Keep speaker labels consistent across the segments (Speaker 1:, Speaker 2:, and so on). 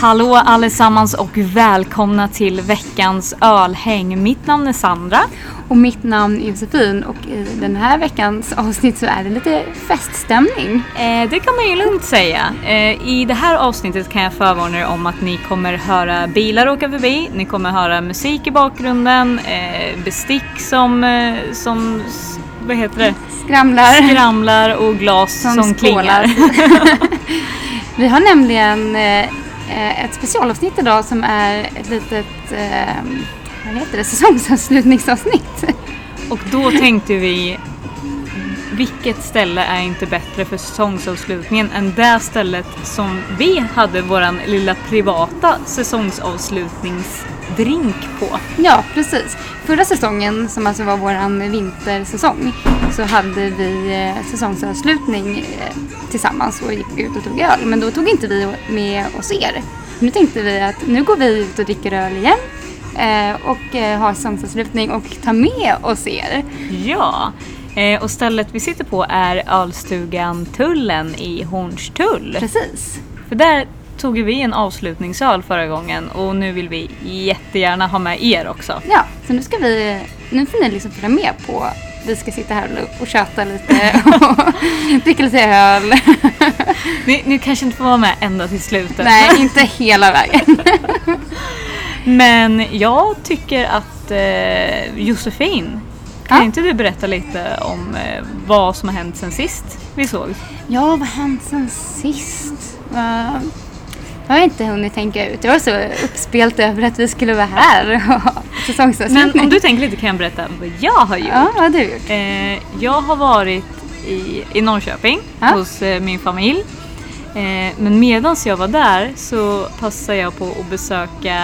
Speaker 1: Hallå allesammans och välkomna till veckans ölhäng. Mitt namn är Sandra.
Speaker 2: Och mitt namn är Josefin och i den här veckans avsnitt så är det lite feststämning.
Speaker 1: Eh, det kan man ju lugnt säga. Eh, I det här avsnittet kan jag förvarna er om att ni kommer höra bilar åka förbi, ni kommer höra musik i bakgrunden, eh, bestick som, eh, som s- vad heter det?
Speaker 2: Skramlar.
Speaker 1: skramlar och glas som,
Speaker 2: Som
Speaker 1: klingar.
Speaker 2: Vi har nämligen eh, eh, ett specialavsnitt idag som är ett litet eh, vad heter det? säsongsavslutningsavsnitt.
Speaker 1: Och då tänkte vi vilket ställe är inte bättre för säsongsavslutningen än det stället som vi hade våran lilla privata säsongsavslutningsdrink på.
Speaker 2: Ja, precis. Förra säsongen, som alltså var vår vintersäsong, så hade vi eh, säsongsavslutning eh, tillsammans och gick ut och tog öl. Men då tog inte vi med oss er. Nu tänkte vi att nu går vi ut och dricker öl igen eh, och eh, har säsongsavslutning och tar med oss er.
Speaker 1: Ja, eh, och stället vi sitter på är ölstugan Tullen i Hornstull.
Speaker 2: Precis.
Speaker 1: För där tog ju vi en avslutningsöl förra gången och nu vill vi jättegärna ha med er också.
Speaker 2: Ja, så nu ska vi, nu får ni liksom följa med på vi ska sitta här och- och köta lite och dricka lite öl.
Speaker 1: Ni, ni kanske inte får vara med ända till slutet.
Speaker 2: Nej, inte hela vägen.
Speaker 1: Men jag tycker att eh, Josefin, kan
Speaker 2: Ja.
Speaker 1: inte du berätta lite om eh, vad som har hänt sen sist vi såg?
Speaker 2: Ja, vad har hänt sen sist? Vad- Jag har inte hunnit tänka ut. Jag var så uppspelt över att vi skulle vara här och ha säsongsavslutning.
Speaker 1: Men om du tänker lite kan jag berätta vad jag har gjort.
Speaker 2: Ja, vad har du gjort?
Speaker 1: Eh, jag har varit i, i Norrköping
Speaker 2: Ja.
Speaker 1: hos eh, min familj. Eh, men medan jag var där så passade jag på att besöka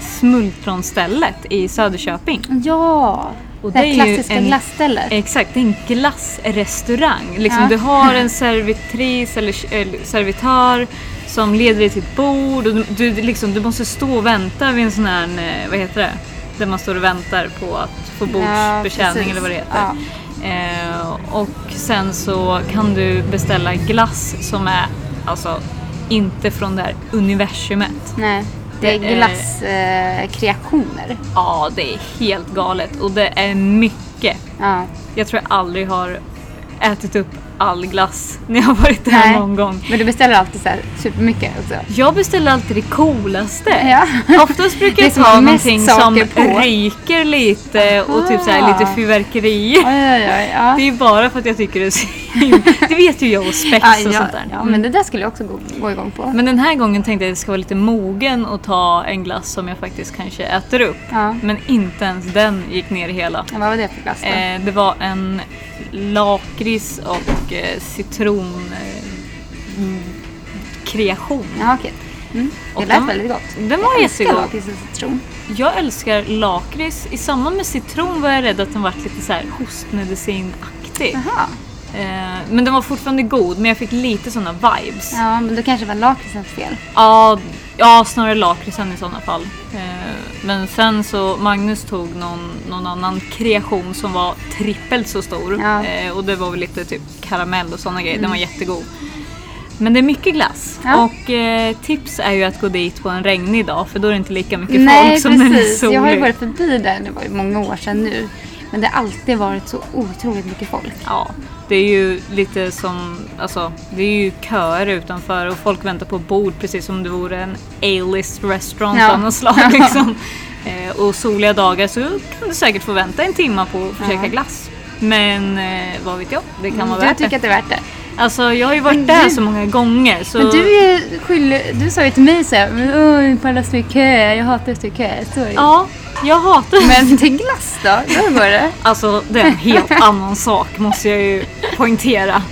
Speaker 1: Smultronstället i Söderköping.
Speaker 2: Ja,
Speaker 1: Och
Speaker 2: det
Speaker 1: det är
Speaker 2: här
Speaker 1: ju
Speaker 2: klassiska
Speaker 1: en-
Speaker 2: glasstället.
Speaker 1: Exakt, det är en glassrestaurang. Liksom,
Speaker 2: Ja.
Speaker 1: Du har en servitris eller, eller servitör som leder dig till ett bord och du, du, liksom, du måste stå och vänta vid en sån här, eh, vad heter det, där man står och väntar på att få bordsbetjäning
Speaker 2: precis.
Speaker 1: eller vad det heter.
Speaker 2: Ja.
Speaker 1: Eh, och sen så kan du beställa glass som är alltså inte från det här universumet.
Speaker 2: Nej, det
Speaker 1: Det är-
Speaker 2: är glasskreationer.
Speaker 1: Ja, det är helt galet och det är mycket
Speaker 2: Ja.
Speaker 1: Jag tror jag aldrig har ätit upp all glass när jag har varit där
Speaker 2: Nej.
Speaker 1: någon gång.
Speaker 2: Men du beställer alltid så här supermycket också.
Speaker 1: Jag beställer alltid det coolaste.
Speaker 2: Ja.
Speaker 1: Oftast brukar
Speaker 2: Det
Speaker 1: jag
Speaker 2: som
Speaker 1: ta
Speaker 2: är mest
Speaker 1: någonting som
Speaker 2: saker på.
Speaker 1: ryker lite och typ så här
Speaker 2: Aha.
Speaker 1: lite fyrverkerier.
Speaker 2: Oj, oj, oj. Ja.
Speaker 1: Det är bara för att jag tycker det är så Det vet ju jag och spex
Speaker 2: Ja,
Speaker 1: och
Speaker 2: ja,
Speaker 1: sånt där. Mm.
Speaker 2: ja, men det där skulle jag också gå, gå igång på.
Speaker 1: Men den här gången tänkte jag att det ska vara lite mogen och ta en glass som jag faktiskt kanske äter upp.
Speaker 2: Ja.
Speaker 1: Men inte ens den gick ner hela.
Speaker 2: Ja, Vad var det för glass då?
Speaker 1: Eh, det var en lakrits och eh, citron eh, mm, kreation.
Speaker 2: Ja, okej. Mm.
Speaker 1: Och
Speaker 2: Det lät
Speaker 1: de-
Speaker 2: väldigt gott.
Speaker 1: Den var jättegod.
Speaker 2: Lakrits och citron.
Speaker 1: Jag älskar lakrits. I samband med citron var jag rädd att den vart lite så här hostmedicinaktig.
Speaker 2: Jaha.
Speaker 1: Eh, men den var fortfarande god, men jag fick lite såna vibes. Ja,
Speaker 2: Ja, men då kanske det var lakritsens fel.
Speaker 1: ja snarare lakritsen i sådana fall. Eh, men sen så Magnus tog någon, någon annan kreation som var trippelt så stor.
Speaker 2: Ja. Mm.
Speaker 1: Eh, och det var väl lite typ karamell och sådana grejer. Den var jättegod. Men det är mycket glass.
Speaker 2: Ja.
Speaker 1: Och eh, tips är ju att gå dit på en regnig dag för då är det inte lika mycket folk
Speaker 2: Nej,
Speaker 1: som när det är
Speaker 2: precis. Jag har
Speaker 1: soligt.
Speaker 2: ju varit förbi där, det var ju många år sedan nu. Men det har alltid varit så otroligt mycket folk.
Speaker 1: Ja, det är ju lite som, alltså det är ju köer utanför och folk väntar på bord precis som om det vore en A-list restaurant
Speaker 2: Ja.
Speaker 1: av något slag liksom. Eh, och soliga dagar så kan du säkert få vänta en timme på att få
Speaker 2: Ja.
Speaker 1: käka glass. Men eh, vad vet jag, det kan vara
Speaker 2: jag
Speaker 1: värt
Speaker 2: tycker
Speaker 1: det.
Speaker 2: att det är värt det.
Speaker 1: Alltså jag har ju
Speaker 2: Men
Speaker 1: varit där
Speaker 2: du-
Speaker 1: så många gånger så...
Speaker 2: Men du, är ju skyldig, du sa ju till mig såhär, men oj, på alla står i kö, jag hatar att stå i kö. Så är det ju.
Speaker 1: Ja, jag hatar
Speaker 2: Men till glass då, då går det.
Speaker 1: Alltså det är en helt annan sak måste jag ju poängtera.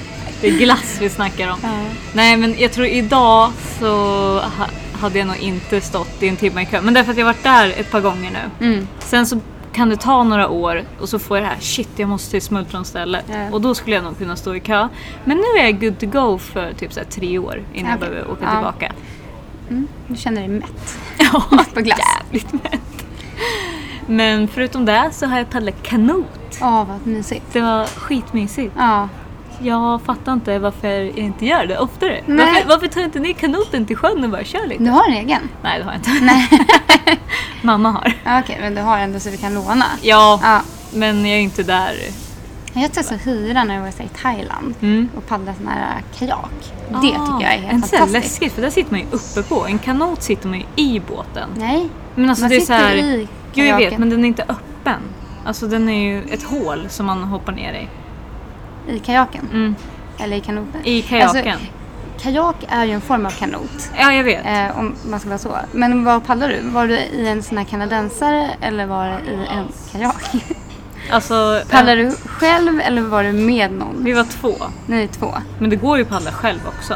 Speaker 1: Det är glass vi snackar om.
Speaker 2: Ja.
Speaker 1: Nej men jag tror idag så ha, hade jag nog inte stått i en timme i kö. Men därför att jag varit där ett par gånger nu.
Speaker 2: Mm.
Speaker 1: Sen så kan det ta några år och så får jag det här shit jag måste till smultronstället.
Speaker 2: Ja.
Speaker 1: Och då skulle jag nog kunna stå i kö. Men nu är jag good to go för typ så här tre år innan jag
Speaker 2: Okej.
Speaker 1: behöver åka
Speaker 2: Ja.
Speaker 1: tillbaka.
Speaker 2: Mm. Du känner dig mätt
Speaker 1: Ja,
Speaker 2: på glass.
Speaker 1: jävligt mätt. Men förutom det så har jag paddlat kanot.
Speaker 2: Åh, vad mysigt.
Speaker 1: Det var skitmysigt.
Speaker 2: Ja,
Speaker 1: jag fattar inte varför jag inte gör det oftare.
Speaker 2: Nej.
Speaker 1: Varför, varför tar inte ni kanoten till sjön och bara kör lite?
Speaker 2: Du har en egen?
Speaker 1: Nej, det har jag inte.
Speaker 2: Nej.
Speaker 1: Mamma har.
Speaker 2: Ja, Okej, men du har ändå så du kan låna.
Speaker 1: Ja,
Speaker 2: Ja.
Speaker 1: men jag är inte där.
Speaker 2: Jag testade att hyra när jag var så här i Thailand
Speaker 1: Mm.
Speaker 2: och paddla sån här kajak. Det
Speaker 1: Ah,
Speaker 2: tycker jag är helt
Speaker 1: inte så här
Speaker 2: fantastiskt.
Speaker 1: läskigt för där sitter man ju uppe på. En kanot sitter man ju i båten.
Speaker 2: Nej,
Speaker 1: Men alltså
Speaker 2: man
Speaker 1: det är så
Speaker 2: sitter
Speaker 1: här,
Speaker 2: i
Speaker 1: Jo, jag vet,
Speaker 2: kajaken.
Speaker 1: men den är inte öppen. Alltså den är ju ett hål som man hoppar ner i.
Speaker 2: I kajaken.
Speaker 1: Mm.
Speaker 2: Eller i kanoten.
Speaker 1: I kajaken.
Speaker 2: Alltså, kajak är ju en form av kanot.
Speaker 1: ja, jag vet.
Speaker 2: Eh, om man ska vara så. Men vad paddlar du? Var du i en sån här kanadensare eller var du i en kajak?
Speaker 1: Alltså,
Speaker 2: Paddlar du själv eller var du med någon?
Speaker 1: vi var två.
Speaker 2: Ni är två.
Speaker 1: Men det går ju att paddla själv också.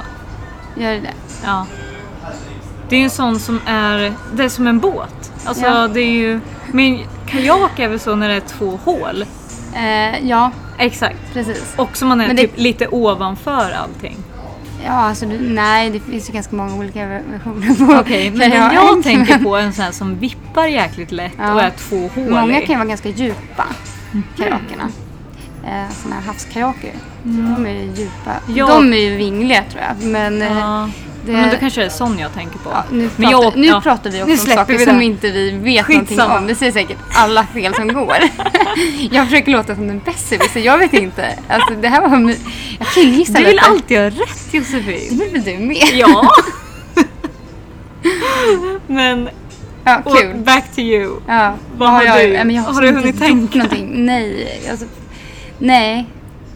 Speaker 2: Gör du det?
Speaker 1: Ja. Det är en sån som är, det är som en båt. Alltså
Speaker 2: Ja.
Speaker 1: det är ju, men kajak är väl så när det är två hål?
Speaker 2: Eh, ja,
Speaker 1: Exakt.
Speaker 2: precis.
Speaker 1: Och som man är
Speaker 2: Men det-
Speaker 1: typ lite ovanför allting.
Speaker 2: Ja, alltså du, nej, det finns ju ganska många olika versioner på
Speaker 1: Okej, men den
Speaker 2: kajak.
Speaker 1: jag tänker på är en sån här som vippar jäkligt lätt
Speaker 2: Ja.
Speaker 1: och är två hål
Speaker 2: Många
Speaker 1: i. Mhm.
Speaker 2: kan ju vara ganska djupa, kajakerna. Eh, Sådana här havskajaker. De är ju djupa.
Speaker 1: Mm. Ja.
Speaker 2: De är ju vingliga tror jag. Men, eh,
Speaker 1: Ja.
Speaker 2: det-
Speaker 1: Men då kanske det är sån jag tänker på.
Speaker 2: ja, nu, pratar,
Speaker 1: men jag,
Speaker 2: nu
Speaker 1: ja.
Speaker 2: pratar vi också
Speaker 1: Nu
Speaker 2: om
Speaker 1: släpper
Speaker 2: saker
Speaker 1: vi
Speaker 2: som
Speaker 1: det.
Speaker 2: inte vi vet
Speaker 1: Skitsamma.
Speaker 2: någonting om. Vi säger säkert alla fel som går. jag försöker låta som den besserwisser, jag vet inte. Alltså, det här var my- jag kan ju gissa
Speaker 1: Du vill
Speaker 2: lite.
Speaker 1: alltid ha rätt
Speaker 2: Det
Speaker 1: Josefin.
Speaker 2: vill väl du med?
Speaker 1: Ja. men
Speaker 2: Ja,
Speaker 1: och
Speaker 2: kul.
Speaker 1: back to you.
Speaker 2: Ja.
Speaker 1: Vad har
Speaker 2: jag,
Speaker 1: du-
Speaker 2: ja, men jag har,
Speaker 1: har du
Speaker 2: inte
Speaker 1: hunnit
Speaker 2: gjort
Speaker 1: tänka?
Speaker 2: Någonting. Nej, alltså, nej,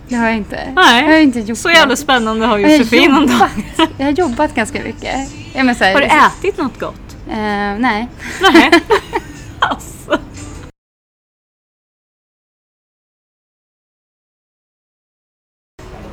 Speaker 2: det har jag inte.
Speaker 1: Nej,
Speaker 2: Jag har inte gjort
Speaker 1: så jävla
Speaker 2: något.
Speaker 1: spännande har
Speaker 2: Jag har
Speaker 1: Josefin ändå.
Speaker 2: jobbat. Jag har jobbat ganska mycket. Jag menar så här,
Speaker 1: Har du ätit något gott?
Speaker 2: Eh, nej.
Speaker 1: Nej. alltså.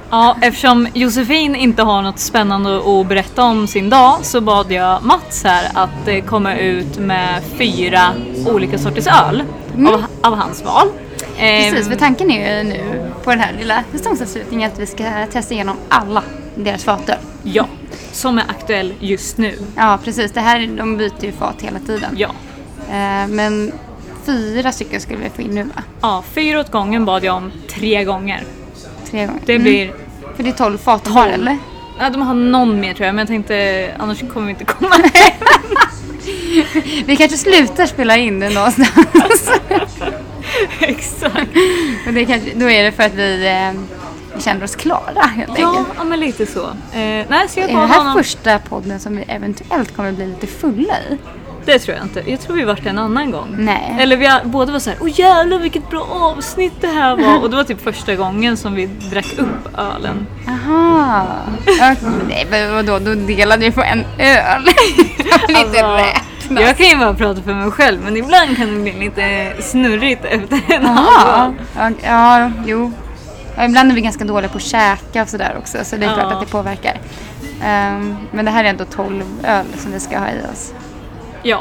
Speaker 1: Ja, eftersom Josefin inte har något spännande att berätta om sin dag så bad jag Mats här att eh, komma ut med fyra olika sorters öl av, av hans val. Ehm,
Speaker 2: Mm. Precis, för tanken är ju nu på den här lilla säsongsavslutningen att vi ska testa igenom alla deras fatöl.
Speaker 1: Ja, som är aktuell just nu.
Speaker 2: Ja, precis. Det här, de byter ju fat hela tiden.
Speaker 1: Ja.
Speaker 2: Eh, men fyra stycken skulle vi få in nu va?
Speaker 1: ja, fyra åt gången bad jag om tre gånger.
Speaker 2: Tre gånger.
Speaker 1: Det
Speaker 2: Mm.
Speaker 1: blir
Speaker 2: För det är tolv fat de har eller?
Speaker 1: Ja, de har någon mer tror jag, men jag tänkte annars kommer vi inte komma hem.
Speaker 2: Vi kanske slutar spela in den någonstans.
Speaker 1: Exakt.
Speaker 2: Och det kanske, då är det för att vi eh, känner oss klara helt
Speaker 1: Ja,
Speaker 2: enkelt.
Speaker 1: ja, men lite så. Eh, nej, så jag
Speaker 2: Är
Speaker 1: gav
Speaker 2: det här
Speaker 1: honom...
Speaker 2: första podden som vi eventuellt kommer bli lite fulla i?
Speaker 1: Det tror jag inte. Jag tror vi varit det en annan gång.
Speaker 2: Nej.
Speaker 1: Eller vi har- båda var så här, åh jävlar vilket bra avsnitt det här var. Och det var typ första gången som vi drack upp ölen.
Speaker 2: Aha. Ja, Nej, men vadå, då delade vi på en öl. Jag vill inte räkna.
Speaker 1: Alltså, jag kan ju bara prata för mig själv, men ibland kan det bli lite snurrigt efter en
Speaker 2: Aha.
Speaker 1: halv.
Speaker 2: Ja, ja, jo. Ja, ibland är vi ganska dåliga på att käka och sådär också, så det är
Speaker 1: Ja.
Speaker 2: klart att det påverkar. Ehm, men det här är ändå 12 öl som vi ska ha i oss.
Speaker 1: Ja.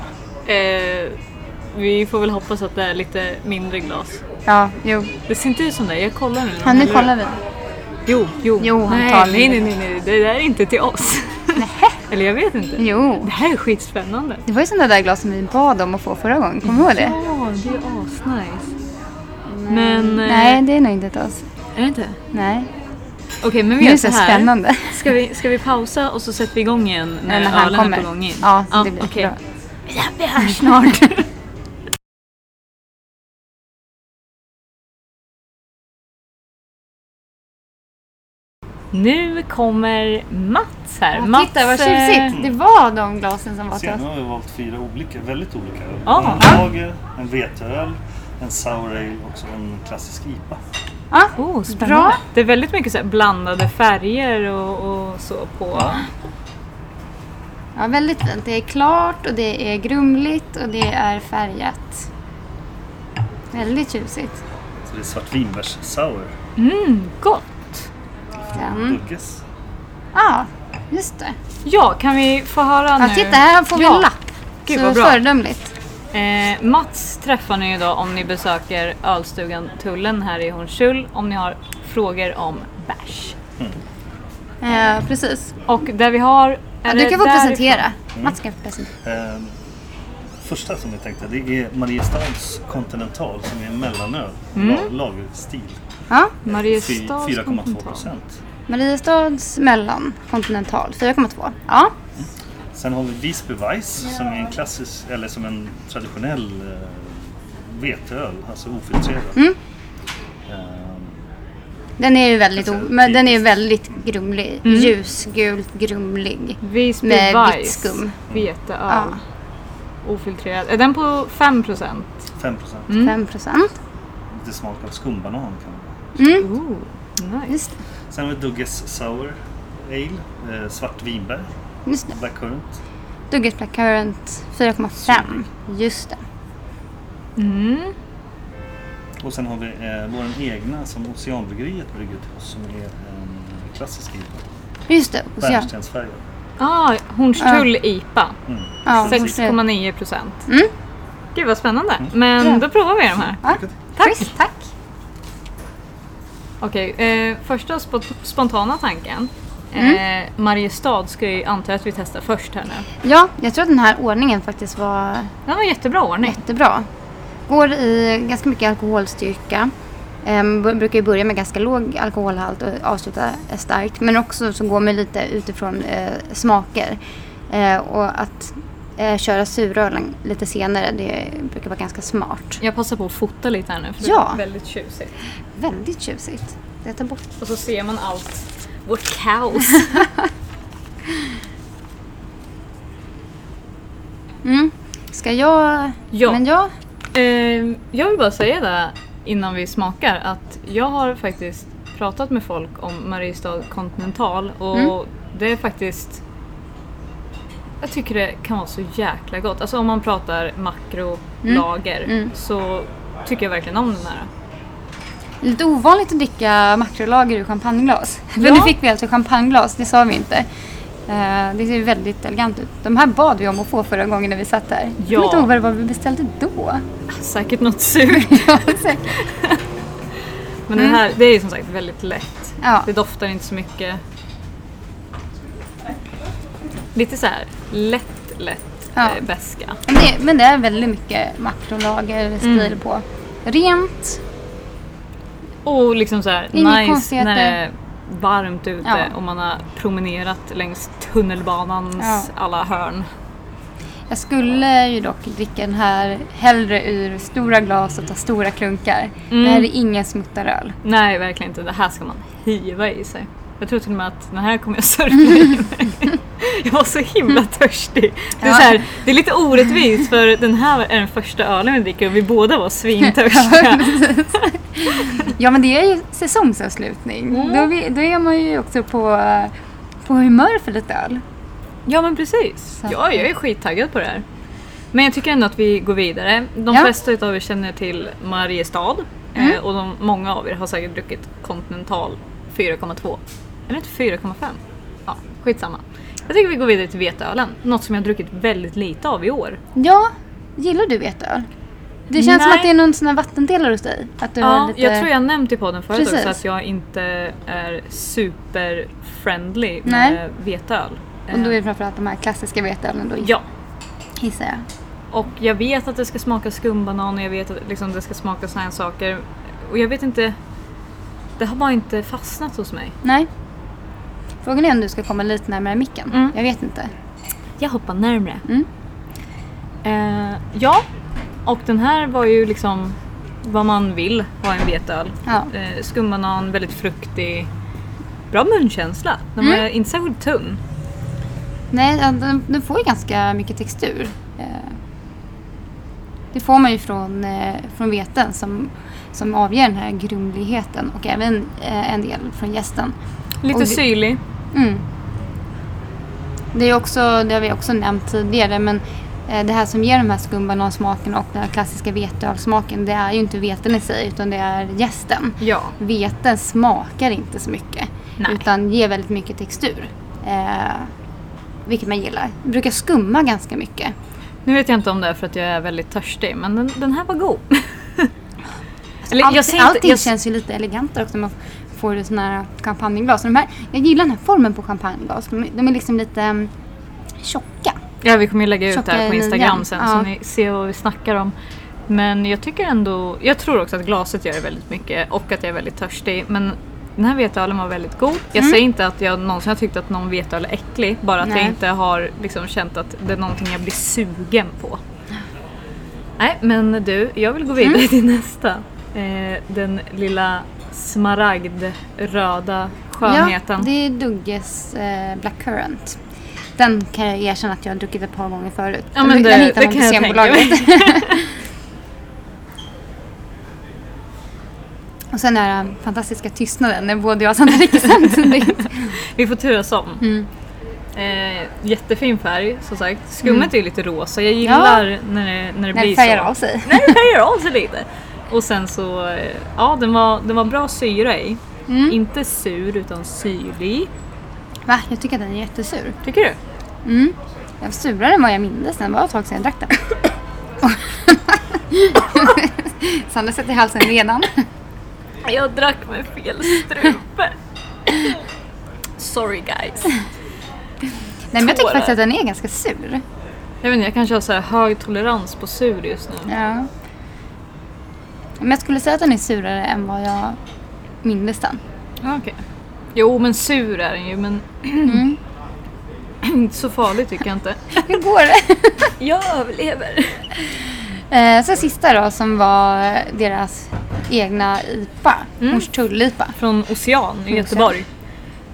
Speaker 1: Eh, vi får väl hoppas att det är lite mindre glas.
Speaker 2: Ja, jo.
Speaker 1: Det ser inte ut som det. Jag kollar nu.
Speaker 2: Ja, nu
Speaker 1: Eller-
Speaker 2: kollar vi.
Speaker 1: Jo, jo.
Speaker 2: Jo, han
Speaker 1: nej,
Speaker 2: tar
Speaker 1: nej, nej,
Speaker 2: livet.
Speaker 1: nej, nej, det där är inte till oss. Eller jag vet inte.
Speaker 2: Jo.
Speaker 1: Det här är skitspännande.
Speaker 2: Det var ju sådana där glas som vi bad om att få förra gången, kommer du ihåg det?
Speaker 1: Ja, det är asnice. Men... eh,
Speaker 2: Nej, det är nog inte till oss.
Speaker 1: Är det inte?
Speaker 2: Nej.
Speaker 1: Okej, men vi
Speaker 2: Nu är
Speaker 1: gör
Speaker 2: det
Speaker 1: så
Speaker 2: så
Speaker 1: här.
Speaker 2: spännande.
Speaker 1: Ska vi, ska vi pausa och så sätter vi igång igen när,
Speaker 2: när han
Speaker 1: ölen är
Speaker 2: kommer.
Speaker 1: på gång in?
Speaker 2: Ja, så det blir
Speaker 1: okej.
Speaker 2: bra.
Speaker 1: Ja, vi hörs snart. Nu kommer Mats här.
Speaker 2: Ja,
Speaker 1: Mats,
Speaker 2: Titta vad
Speaker 1: eh,
Speaker 2: tjusigt! Det var de glasen som var till oss.
Speaker 3: Senare har vi valt fyra olika, väldigt olika öl.
Speaker 1: Ja.
Speaker 3: En lager, en veteöl, en sour ale och så en klassisk IPA.
Speaker 2: Ja,
Speaker 1: Oh, spännande.
Speaker 2: Bra.
Speaker 1: Det är väldigt mycket så här blandade färger och, och så på.
Speaker 2: Ja, väldigt fint. Det är klart och det är grumligt och det är färgat. Väldigt tjusigt.
Speaker 3: Så det är svartvinbärs-sour.
Speaker 1: Mm, gott! Mm.
Speaker 2: Sen,
Speaker 3: Dugges.
Speaker 2: ja, just det.
Speaker 1: Ja, kan vi få höra
Speaker 2: Ja,
Speaker 1: nu?
Speaker 2: titta, här får vi
Speaker 1: Ja.
Speaker 2: en lapp.
Speaker 1: Gud,
Speaker 2: så
Speaker 1: vad bra.
Speaker 2: föredömligt.
Speaker 1: Eh, Mats träffar ni ju då om ni besöker ölstugan Tullen här i Hornstull om ni har frågor om bärs.
Speaker 2: Eh, precis.
Speaker 1: Och där vi har...
Speaker 2: Ja,
Speaker 1: är
Speaker 2: du
Speaker 1: det
Speaker 2: kan få
Speaker 1: därifrån? Mm.
Speaker 2: presentera. Mats kan få presentera.
Speaker 3: Ehm, första som
Speaker 1: Mm.
Speaker 3: jag tänkte, det är Mariestads Continental som är en mellanöl. la- Lagerstil.
Speaker 2: Ja.
Speaker 3: Fy-
Speaker 1: Mariestad
Speaker 3: 4,2 procent.
Speaker 2: Mariestads mellankontinental 4,2. Ja.
Speaker 3: Sen har vi Visby Weiss som är en klassisk, eller som en traditionell eh, veteöl, alltså ofiltrerad.
Speaker 2: Mm.
Speaker 3: Ehm,
Speaker 2: Den är ju väldigt, o-
Speaker 3: Alltså,
Speaker 2: men den är ju
Speaker 3: typiskt.
Speaker 2: väldigt grumlig.
Speaker 1: Mm.
Speaker 2: Ljusgult, grumlig.
Speaker 1: Visby
Speaker 2: Med vitt
Speaker 1: Vice.
Speaker 2: skum.
Speaker 1: Veteöl.
Speaker 2: Ja.
Speaker 1: Ofiltrerad. Är den på 5 procent?
Speaker 3: 5 procent.
Speaker 1: Mm.
Speaker 2: 5 procent.
Speaker 3: Lite smak av skumbanan kan man
Speaker 2: Mm.
Speaker 1: Ooh, nice.
Speaker 2: Just,
Speaker 3: Sen har vi Dugges Sour Ale, eh, svart vinbär,
Speaker 2: just det.
Speaker 3: blackcurrant.
Speaker 2: Dugget Black Current 4,5. Just det.
Speaker 1: Mm.
Speaker 3: Och sen har vi eh, vår egna som Oceanbryggeriet brygger till oss som är en klassisk IPA.
Speaker 2: Just det. Och så jag-
Speaker 3: Bärnstensfärgad.
Speaker 1: Ah, Hornstull IPA.
Speaker 3: Mm.
Speaker 2: Ja, precis.
Speaker 1: 6,9 procent.
Speaker 2: Mm.
Speaker 1: Gud vad spännande. Men då
Speaker 2: Bra.
Speaker 1: provar vi de här.
Speaker 2: Ja.
Speaker 3: Lycka till.
Speaker 1: Tack.
Speaker 2: Schysst, tack.
Speaker 1: Okej, eh, första spo- spontana tanken. Eh, Mariestad ska jag ju anta att vi testar först här nu.
Speaker 2: Ja, jag tror att den här ordningen faktiskt var
Speaker 1: Det var jättebra ordning.
Speaker 2: jättebra. Går i ganska mycket alkoholstyrka. Ehm, b- brukar ju börja med ganska låg alkoholhalt och avsluta eh, starkt. Men också så går man lite utifrån eh, smaker. Eh, och att eh, köra surölen lite senare det brukar vara ganska smart.
Speaker 1: Jag passar på att fota lite här nu för
Speaker 2: Ja.
Speaker 1: det är väldigt tjusigt.
Speaker 2: Väldigt tjusigt. Jag tar bort.
Speaker 1: Och så ser man allt vårt kaos.
Speaker 2: Mm. Ska jag?
Speaker 1: Ja.
Speaker 2: Men jag?
Speaker 1: Eh, jag vill bara säga det innan vi smakar att jag har faktiskt pratat med folk om Mariestad Continental och
Speaker 2: Mm.
Speaker 1: det är faktiskt jag tycker det kan vara så jäkla gott. Alltså om man pratar makrolager
Speaker 2: Mm.
Speaker 1: så tycker jag verkligen om den här.
Speaker 2: Lite ovanligt att dricka makrolager ur champagneglas. För
Speaker 1: Ja.
Speaker 2: nu fick vi alltså champagneglas, det sa vi inte. Eh, det ser ju väldigt elegant ut. De här bad vi om att få förra gången när vi satt här. Jag
Speaker 1: Ja.
Speaker 2: kommer inte ihåg vad det var vi beställde då.
Speaker 1: Säkert något surt
Speaker 2: Ja, säkert.
Speaker 1: men
Speaker 2: Mm.
Speaker 1: den här det är ju som sagt väldigt lätt.
Speaker 2: ja.
Speaker 1: Det doftar inte så mycket. Lite så här lätt lätt
Speaker 2: Ja.
Speaker 1: eh, beska.
Speaker 2: Men det, men det är väldigt mycket makrolager-stil
Speaker 1: Mm.
Speaker 2: på. Rent.
Speaker 1: Och liksom så här,
Speaker 2: Inga
Speaker 1: nice
Speaker 2: konstigheter.
Speaker 1: när det är varmt ute
Speaker 2: Ja.
Speaker 1: och man har promenerat längs tunnelbanans
Speaker 2: Ja.
Speaker 1: alla hörn.
Speaker 2: Jag skulle ju dock dricka den här hellre ur stora glas och ta stora klunkar.
Speaker 1: Mm.
Speaker 2: Det här är ingen smuttaröl.
Speaker 1: Nej, verkligen inte. Det här ska man hiva i sig. Jag tror till och med att den här kommer jag sörja i mig. Jag var så himla törstig. Det är,
Speaker 2: Mm. Ja.
Speaker 1: så här, det är lite orättvist för den här är den första ölen vi dricker och vi båda var
Speaker 2: Ja,
Speaker 1: svintörstiga.
Speaker 2: precis. ja men det är ju säsongsavslutning.
Speaker 1: Mm.
Speaker 2: Då, vi, då är man ju också på, eh, på humör för lite öl.
Speaker 1: Ja men precis.
Speaker 2: Så att-
Speaker 1: Ja, jag är skittaggad på det här. Men jag tycker ändå att vi går vidare. De
Speaker 2: Ja. Mhm.
Speaker 1: flesta utav er känner till Mariestad eh, och de, många av er har säkert druckit Continental 4,2. Eller inte 4,5? Ja, skitsamma. Jag tycker vi går vidare till veteölen. Något som jag har druckit väldigt lite av i år.
Speaker 2: Ja, gillar du veteöl? Det känns som
Speaker 1: Nej.
Speaker 2: att det är någon sån här vattendelare hos dig. Att du har
Speaker 1: Ja,
Speaker 2: lite...
Speaker 1: Jag tror jag nämnt i podden förut
Speaker 2: Precis.
Speaker 1: också att jag inte är super-friendly
Speaker 2: Nej.
Speaker 1: med veteöl.
Speaker 2: Och då är
Speaker 1: Eh,
Speaker 2: det framförallt de här klassiska veteölen då
Speaker 1: Ja,
Speaker 2: gissar jag.
Speaker 1: Och jag vet att det ska smaka skumbanan och jag vet att liksom det ska smaka såna här saker. Och jag vet inte, det har bara inte fastnat hos mig.
Speaker 2: Nej. Frågan är om du ska komma lite närmare micken.
Speaker 1: Mm.
Speaker 2: Jag vet inte.
Speaker 1: Jag hoppar närmre.
Speaker 2: Mm.
Speaker 1: Eh, ja, och den här var ju liksom vad man vill ha i en vetöl.
Speaker 2: Ja.
Speaker 1: Eh, skumbanan, väldigt fruktig. Bra munkänsla. Den var inte särskilt tunn.
Speaker 2: Nej, ja, den, den får ju ganska mycket textur. Eh, Det får man ju från, eh, från veten som, som avger den här grumligheten och även eh, en del från gästen.
Speaker 1: Lite
Speaker 2: Och det-
Speaker 1: syrlig.
Speaker 2: Mm. Det, är också, det har vi också nämnt tidigare men eh, det här som ger de här skumbanansmaken och den här klassiska veteölsmaken det är ju inte veten i sig utan det är gästen.
Speaker 1: Ja.
Speaker 2: Veten smakar inte så mycket
Speaker 1: Nej.
Speaker 2: utan ger väldigt mycket textur. Eh, vilket man gillar. Det brukar skumma ganska mycket.
Speaker 1: Nu vet jag inte om det är för att jag är väldigt törstig men den, den här var god. Eller,
Speaker 2: Allt,
Speaker 1: ser
Speaker 2: allting
Speaker 1: jag-
Speaker 2: känns ju lite elegantare också när man får det såna här champagneglas. Och De här, jag gillar den här formen på champagneglas. De, de är liksom lite mm, tjocka.
Speaker 1: Ja, vi kommer ju lägga ut det
Speaker 2: Tjocka
Speaker 1: här på
Speaker 2: i nian.
Speaker 1: Instagram sen
Speaker 2: Ja.
Speaker 1: så ni ser vad vi snackar om. Men jag tycker ändå, jag tror också att glaset gör det väldigt mycket och att jag är väldigt törstig. Men den här veteölen var väldigt god. Jag
Speaker 2: Mm.
Speaker 1: säger inte att jag någonsin har tyckt att någon veteöl är äcklig. Bara att
Speaker 2: Nej.
Speaker 1: jag inte har liksom känt att det är någonting jag blir sugen på. Nej men du, jag vill gå
Speaker 2: Mm.
Speaker 1: vidare till nästa. Eh, den lilla smaragdröda skönheten.
Speaker 2: Ja, det är Dugges eh, Blackcurrant. Den kan jag erkänna att jag har druckit ett par gånger förut.
Speaker 1: Ja, men
Speaker 2: den,
Speaker 1: det-
Speaker 2: den hittar
Speaker 1: det
Speaker 2: man på
Speaker 1: kan jag tänka
Speaker 2: Systembolaget. Och sen den här fantastiska tystnaden när både jag och Sandra dricker samtidigt.
Speaker 1: Vi får turas om.
Speaker 2: Mm.
Speaker 1: Eh, jättefin färg som sagt. Skummet är ju lite rosa. Jag gillar när det, Mm. när det
Speaker 2: När
Speaker 1: blir
Speaker 2: det
Speaker 1: så.
Speaker 2: färgar av sig.
Speaker 1: Nej, det färgar av sig lite. Och sen så, eh, ja den var, den var bra syra i.
Speaker 2: Mm.
Speaker 1: Inte sur utan syrlig.
Speaker 2: Va? Jag tycker att den är jättesur.
Speaker 1: Tycker du?
Speaker 2: Mm. Den var surare än vad jag mindes den. Det var ett tag sedan jag drack den. Sandra sätter i halsen redan.
Speaker 1: Jag drack med fel strupe. Sorry guys.
Speaker 2: Nej, men jag tycker
Speaker 1: Tårar.
Speaker 2: faktiskt att den är ganska sur.
Speaker 1: Jag vet inte, jag kanske har så här hög tolerans på sur just nu.
Speaker 2: Ja. Men jag skulle säga att den är surare än vad jag mindes den.
Speaker 1: Ja, Okej. Jo men sur är den ju men inte så farlig tycker jag inte.
Speaker 2: Hur går det?
Speaker 1: Jag överlever.
Speaker 2: Eh, sen sista då som var deras egna IPA.
Speaker 1: Mm.
Speaker 2: Hornstull-IPA.
Speaker 1: Från Ocean i Göteborg.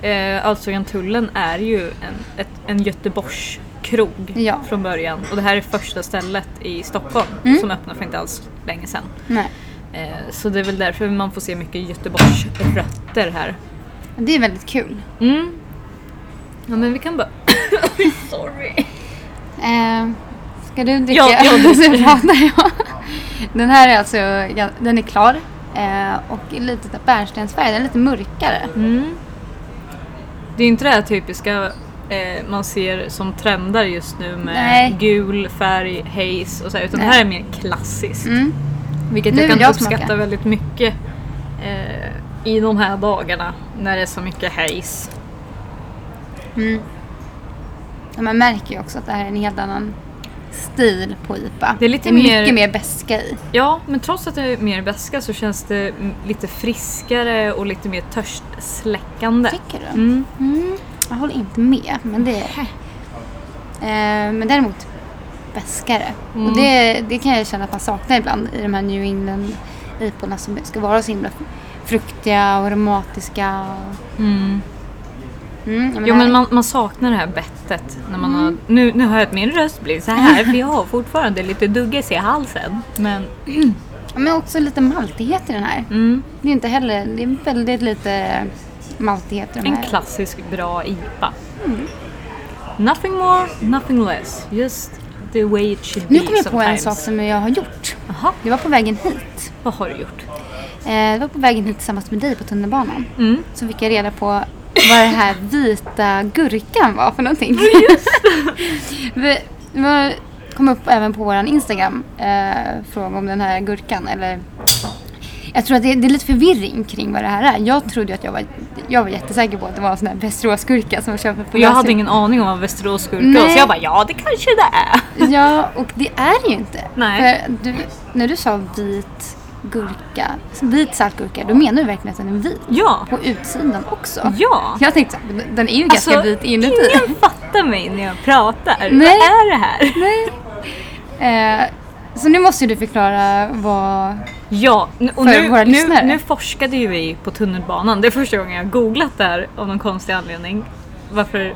Speaker 1: Eh, Alsågantullen är ju en, ett, en Göteborgskrog
Speaker 2: Ja.
Speaker 1: från början och det här är första stället i Stockholm som öppnade för inte alls länge sedan.
Speaker 2: Nej.
Speaker 1: Eh, så det är väl därför man får se mycket Göteborgsrötter här.
Speaker 2: Det är väldigt kul.
Speaker 1: Mm. Ja men vi kan bara... Sorry.
Speaker 2: Eh, ska du dricka?
Speaker 1: Ja, jag dricker.
Speaker 2: Så pratar jag. Den här är alltså, gan- den är klar. Eh, och är lite så här bärnstensfärg, den är lite mörkare.
Speaker 1: Mm. Det är inte det här typiska eh, man ser som trendar just nu med
Speaker 2: Nej.
Speaker 1: gul färg, haze och så här, utan
Speaker 2: Nej.
Speaker 1: det här är mer klassiskt.
Speaker 2: Mm.
Speaker 1: Vilket
Speaker 2: Nu
Speaker 1: jag kan
Speaker 2: vill jag
Speaker 1: uppskatta
Speaker 2: smaka.
Speaker 1: väldigt mycket eh, i de här dagarna när det är så mycket haze.
Speaker 2: Mm. Ja, Man märker ju också att det här är en helt annan stil på IPA.
Speaker 1: Det är lite
Speaker 2: mycket
Speaker 1: mer-
Speaker 2: mer bäska i.
Speaker 1: Ja, men trots att det är mer beska så känns det mm, lite friskare och lite mer törstsläckande.
Speaker 2: Tycker du?
Speaker 1: Mm.
Speaker 2: Mm, jag håller inte med, men det är eh, Men däremot bäskare.
Speaker 1: Mm.
Speaker 2: Och det, det kan jag känna att man saknar ibland i de här New England iporna som ska vara så himla fruktiga och aromatiska. och-
Speaker 1: Mm.
Speaker 2: Mm, ja,
Speaker 1: Jo
Speaker 2: det
Speaker 1: men
Speaker 2: här-
Speaker 1: man, man saknar det här bettet. När man
Speaker 2: Mm.
Speaker 1: har, nu, nu hör jag att min röst blir så här för jag har fortfarande lite dugges i halsen. Men
Speaker 2: ja, men också lite maltighet i den här.
Speaker 1: mm,
Speaker 2: Det är inte heller, det är väldigt lite maltighet i de
Speaker 1: en
Speaker 2: här.
Speaker 1: klassisk bra IPA.
Speaker 2: Mm.
Speaker 1: Nothing more, nothing less. Just the way it should
Speaker 2: Nu
Speaker 1: be
Speaker 2: kom jag på en
Speaker 1: sometimes.
Speaker 2: sak som jag har gjort.
Speaker 1: Jaha,
Speaker 2: Det var på vägen hit.
Speaker 1: vad har du gjort?
Speaker 2: Eh, det var på vägen hit tillsammans med dig på tunnelbanan.
Speaker 1: Mm.
Speaker 2: så fick jag reda på vad den här vita gurkan var för någonting. Vi vi kom upp även på vår Instagram eh, fråga om den här gurkan. Eller, jag tror att det, det är lite förvirring kring vad det här är. Jag trodde ju att jag var, jag var jättesäker på att det var en sån här Västeråsgurka som jag köpte på
Speaker 1: Jag hade
Speaker 2: Lasin.
Speaker 1: ingen aning om vad Västerås gurka
Speaker 2: Nej.
Speaker 1: var så jag bara ja det kanske det är.
Speaker 2: Ja, och det är det ju inte.
Speaker 1: Nej.
Speaker 2: För du, när du sa vit gurka, vit saltgurka, då menar du verkligen att den är vit.
Speaker 1: Ja,
Speaker 2: På utsidan också.
Speaker 1: ja.
Speaker 2: Jag tänkte så här, den är ju ganska
Speaker 1: Alltså,
Speaker 2: vit inuti.
Speaker 1: Ingen fattar mig när jag pratar. Vad
Speaker 2: Nej.
Speaker 1: är det här?
Speaker 2: Nej. Eh, så nu måste ju du förklara vad...
Speaker 1: Ja, n- och
Speaker 2: För
Speaker 1: nu,
Speaker 2: våra
Speaker 1: nu,
Speaker 2: lyssnare.
Speaker 1: nu forskade ju vi på tunnelbanan. Det är första gången jag har googlat där av någon konstig anledning. Varför?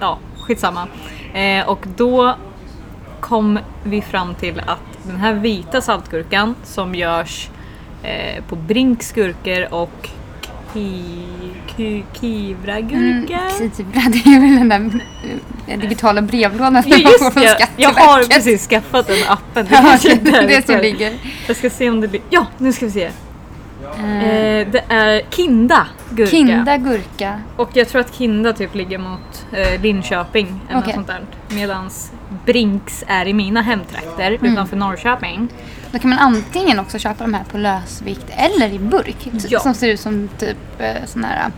Speaker 1: Ja, skitsamma. Eh, och då kom vi fram till att den här vita saltgurkan som görs eh, på Brinks gurkor och ki- ki-
Speaker 2: Mm,
Speaker 1: Kivra-gurka.
Speaker 2: Xibra, det är väl den där eh, digitala brevlådan som man får
Speaker 1: Just
Speaker 2: från
Speaker 1: det, jag har
Speaker 2: Skatteverket.
Speaker 1: precis skaffat den appen.
Speaker 2: Ja,
Speaker 1: kanske är
Speaker 2: det är det som
Speaker 1: därför.
Speaker 2: ligger.
Speaker 1: Jag ska se om det ligger. Ja, nu ska vi se.
Speaker 2: Eh,
Speaker 1: Eh, det är Kinda gurka.
Speaker 2: Kinda gurka.
Speaker 1: Och jag tror att Kinda typ ligger mot eh, Linköping eller
Speaker 2: Okej.
Speaker 1: något sånt där. Medans Brinks är i mina hemtrakter
Speaker 2: Mm.
Speaker 1: utanför Norrköping.
Speaker 2: Då kan man antingen också köpa de här på lösvikt eller i burk. t-
Speaker 1: Ja.
Speaker 2: Som ser ut som typ eh, sån här eh,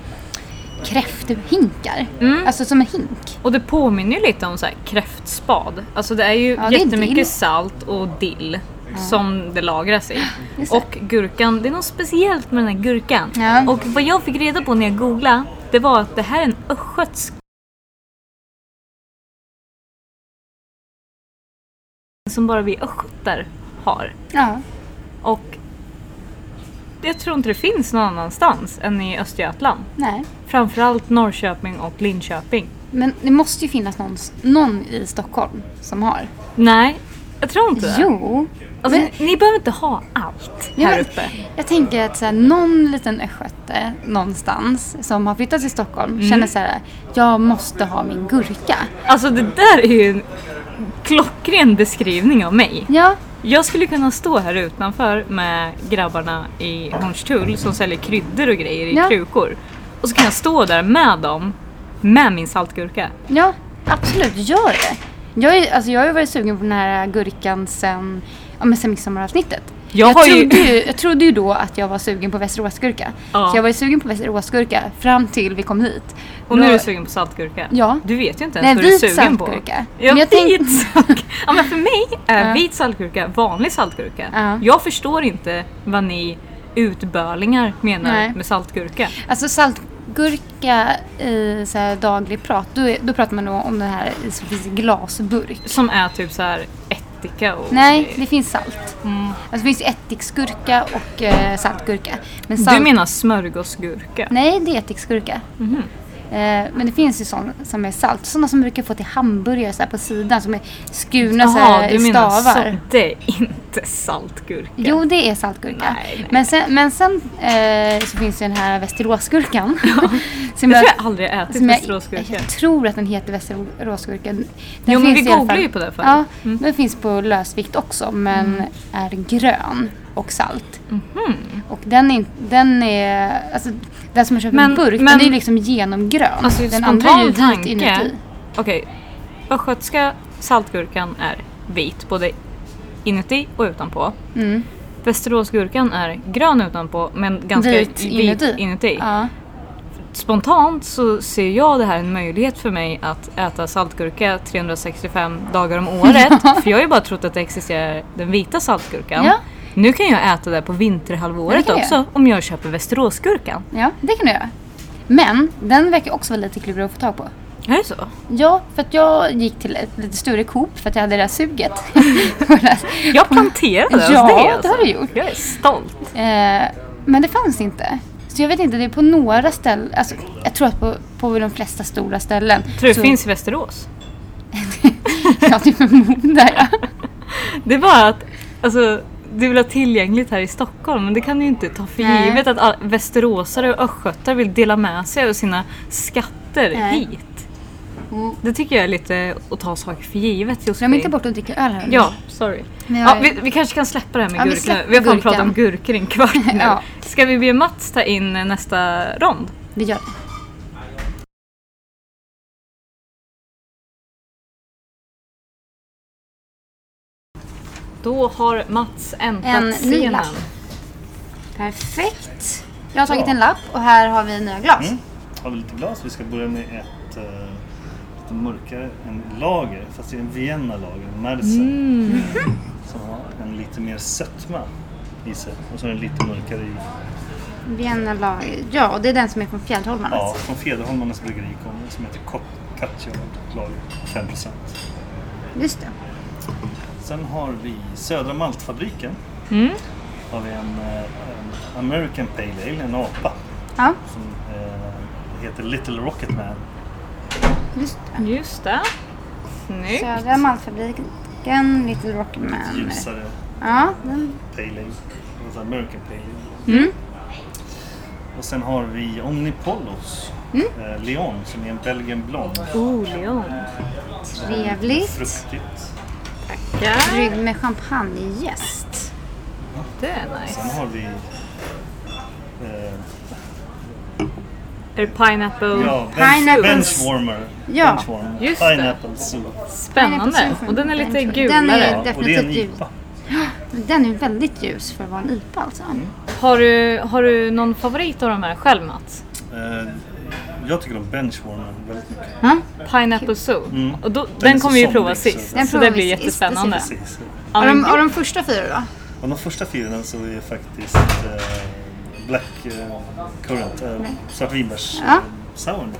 Speaker 2: kräfthinkar.
Speaker 1: Mm.
Speaker 2: Alltså som en hink.
Speaker 1: Och det påminner ju lite om så här kräftspad. Alltså det är ju
Speaker 2: Ja, det är
Speaker 1: jättemycket
Speaker 2: dill.
Speaker 1: salt och dill. som det lagras i.
Speaker 2: Just det.
Speaker 1: Och gurkan, det är något speciellt med den här gurkan.
Speaker 2: Ja.
Speaker 1: Och vad jag fick reda på när jag googlade, det var att det här är en östgötsk som bara vi östgötar har.
Speaker 2: Ja.
Speaker 1: Och jag tror inte det finns någon annanstans än i Östergötland.
Speaker 2: Nej.
Speaker 1: Framförallt Norrköping och Linköping.
Speaker 2: Men det måste ju finnas någon, någon i Stockholm som har.
Speaker 1: Nej, jag tror inte det.
Speaker 2: Jo.
Speaker 1: Alltså,
Speaker 2: Men-
Speaker 1: ni, ni behöver inte ha allt
Speaker 2: Ja,
Speaker 1: här
Speaker 2: men-
Speaker 1: uppe.
Speaker 2: Jag tänker att så här, någon liten östgöte någonstans som har flyttat till Stockholm
Speaker 1: Mm.
Speaker 2: känner så här, jag måste ha min gurka.
Speaker 1: Alltså det där är ju en klockren beskrivning av mig.
Speaker 2: Ja,
Speaker 1: Jag skulle kunna stå här utanför med grabbarna i Hornstull som säljer kryddor och grejer i
Speaker 2: Ja.
Speaker 1: krukor. Och så kan jag stå där med dem, med min saltgurka.
Speaker 2: ja, absolut, gör det. Jag, är, alltså, jag har ju varit sugen på den här gurkan sen, ja, men sen midsommaravsnittet.
Speaker 1: Jag
Speaker 2: Jag,
Speaker 1: har ju-
Speaker 2: trodde ju, jag trodde ju då att jag var sugen på västeråsgurka.
Speaker 1: Ja.
Speaker 2: Så jag var ju sugen på västeråsgurka fram till vi kom hit.
Speaker 1: Och nu
Speaker 2: Då-
Speaker 1: är du sugen på saltgurka.
Speaker 2: Ja.
Speaker 1: Du vet ju inte
Speaker 2: Nej,
Speaker 1: ens vad du är
Speaker 2: vit
Speaker 1: sugen på.
Speaker 2: saltgurka.
Speaker 1: Ja,
Speaker 2: Men jag tänk-
Speaker 1: vit saltgurka. Ja, men för mig är
Speaker 2: Ja.
Speaker 1: vit saltgurka vanlig saltgurka.
Speaker 2: Ja.
Speaker 1: Jag förstår inte vad ni utbölingar menar
Speaker 2: Nej.
Speaker 1: med saltgurka.
Speaker 2: Alltså saltgurka i så här, daglig prat, då, är, då pratar man då om den här i- som finns i glasburk.
Speaker 1: Som är typ så här ättika och...
Speaker 2: Nej, det finns salt.
Speaker 1: Mm.
Speaker 2: Alltså, det finns ju ättiksgurka och eh, saltgurka. Men
Speaker 1: Du menar Mhm. smörgåsgurka?
Speaker 2: Nej, det är ättiksgurka. Eh, men det finns ju sådana som är salt. Sådana som brukar få till hamburgare så här, på sidan som är skurna så
Speaker 1: Jaha,
Speaker 2: här,
Speaker 1: du
Speaker 2: i
Speaker 1: menar
Speaker 2: stavar.
Speaker 1: så. Det är inte saltgurka.
Speaker 2: Jo, det är saltgurka.
Speaker 1: Nej, nej.
Speaker 2: Men sen, men sen eh, så finns ju den här västeråsgurkan. som
Speaker 1: Jag tror jag aldrig har ätit
Speaker 2: som jag-
Speaker 1: västeråsgurka.
Speaker 2: Jag tror att den heter västeråsgurka. Den
Speaker 1: Jo, men
Speaker 2: finns
Speaker 1: vi
Speaker 2: i alla
Speaker 1: googlar
Speaker 2: fall-
Speaker 1: ju på det förut. Mm.
Speaker 2: Ja, den finns på lösvikt också men är grön och salt.
Speaker 1: Mhm.
Speaker 2: Och den är, inte- den är, alltså den som man köper
Speaker 1: Men-
Speaker 2: i burk,
Speaker 1: men-
Speaker 2: den är ju liksom genomgrön.
Speaker 1: Alltså
Speaker 2: den
Speaker 1: spontan
Speaker 2: vit
Speaker 1: tanke. Okej, östgötska saltgurkan är vit både inuti och utanpå.
Speaker 2: Mm.
Speaker 1: Västeråsgurkan är grön utanpå men ganska
Speaker 2: Vit inuti. Ja.
Speaker 1: Spontant så ser jag det här en möjlighet för mig att äta saltgurka 365 dagar om året. för jag har ju bara trott att det existerar den vita saltgurkan.
Speaker 2: Ja.
Speaker 1: Nu kan jag äta det på vinterhalvåret
Speaker 2: Ja, det kan
Speaker 1: också om jag köper västeråsgurkan.
Speaker 2: ja, det kan du göra. Men den verkar också vara lite klurig att få tag på.
Speaker 1: Är det så?
Speaker 2: Ja, för att jag gick till ett lite större Coop för att jag hade det där suget.
Speaker 1: Jag planterade ens
Speaker 2: Ja,
Speaker 1: det. alltså.
Speaker 2: det har du gjort.
Speaker 1: Jag är stolt.
Speaker 2: Eh, men det fanns inte. Så jag vet inte, det är på några ställen, alltså, jag tror att på, på de flesta stora ställen.
Speaker 1: Tror du
Speaker 2: så,
Speaker 1: det finns i Västerås?
Speaker 2: Ja, det förmodar jag.
Speaker 1: Det är bara att alltså, det vill ha tillgängligt här i Stockholm men det kan du ju inte ta för
Speaker 2: Nej.
Speaker 1: givet att all- västeråsare och östgötar vill dela med sig av sina skatter
Speaker 2: Nej.
Speaker 1: hit.
Speaker 2: Mm.
Speaker 1: Det tycker jag är lite att ta saker för givet Josefin.
Speaker 2: Glöm inte bort att dricka öl här.
Speaker 1: Ja, sorry.
Speaker 2: Men jag-
Speaker 1: Ja, vi, vi kanske kan släppa det här med
Speaker 2: Ja, vi
Speaker 1: gurkorna.
Speaker 2: släpper
Speaker 1: Vi har fan
Speaker 2: gurkan.
Speaker 1: pratat om gurkor i en kvart nu.
Speaker 2: Ja.
Speaker 1: Ska vi be Mats ta in eh, nästa rond?
Speaker 2: Vi gör det.
Speaker 1: Då har Mats äntrat
Speaker 2: En ny
Speaker 1: scenen.
Speaker 2: lapp. Perfekt. Jag har tagit en lapp och här har vi nya glas.
Speaker 3: Mm. Har vi lite glas? Vi ska börja med ett eh, lite mörkare, en lager, fast det är en Vienna lager, en Mercer. Som har en lite mer sötma i sig och så är den lite mörkare i.
Speaker 2: Vienna lager. Ja, och det är den som är från Fjällholmarnas.
Speaker 3: Ja, från Fjäderholmarnas bryggeri kommer det, som heter Kot- Katja lager, 5
Speaker 2: Just det.
Speaker 3: Sen har vi Södra Maltfabriken.
Speaker 1: Mm.
Speaker 3: Har vi en, eh, en American Pale Ale, en apa,
Speaker 2: Ja,
Speaker 3: som eh, heter Little Rocket Man.
Speaker 2: just det.
Speaker 1: Just det. Snyggt.
Speaker 2: Södra Maltfabriken, Little Rocket Man.
Speaker 3: Ljusare
Speaker 2: Ja, den
Speaker 3: Pale Ale. Alltså American Pale Ale.
Speaker 2: Mm.
Speaker 3: Och sen har vi Omnipollos
Speaker 2: Mm.
Speaker 3: eh, Leon som är en Belgian Blond.
Speaker 1: Oh, Leon.
Speaker 2: trevligt.
Speaker 3: Fruktigt.
Speaker 1: Ja,
Speaker 2: Brygg med champagnejäst.
Speaker 1: det är nice.
Speaker 3: Sen har vi eh,
Speaker 1: Är det pineapple?
Speaker 3: ja, bench,
Speaker 2: Pineapples.
Speaker 3: Benchwarmer.
Speaker 2: Ja.
Speaker 3: Benchwarmer.
Speaker 1: Just det.
Speaker 3: Pineapple Soup.
Speaker 1: Spännande. Och den är lite
Speaker 2: Den är-
Speaker 1: gulare.
Speaker 3: Ja, och det är en
Speaker 2: definitivt
Speaker 3: IPA.
Speaker 2: Den är väldigt ljus för att vara en IPA alltså.
Speaker 1: Har du, har du någon favorit av de här själv Mats?
Speaker 3: Eh, jag tycker om Benchwarmer väldigt mycket.
Speaker 2: Ja.
Speaker 1: Pineapple Zoo.
Speaker 3: Mm.
Speaker 1: Och då,
Speaker 3: är
Speaker 1: den
Speaker 3: så
Speaker 1: kommer vi ju
Speaker 3: somrig,
Speaker 1: prova
Speaker 3: så-
Speaker 1: sist.
Speaker 3: Den
Speaker 1: Så
Speaker 2: provar
Speaker 1: det
Speaker 2: vi
Speaker 1: blir
Speaker 2: sist,
Speaker 1: jättespännande.
Speaker 2: precis.
Speaker 3: Precis.
Speaker 1: Ja,
Speaker 2: Av
Speaker 1: men
Speaker 2: de, av
Speaker 1: gud.
Speaker 2: de första fyra då?
Speaker 3: Av de första fyren så är faktiskt eh, Black eh, Currant, eh, svartvinbärs
Speaker 2: Ja.
Speaker 3: eh, sour.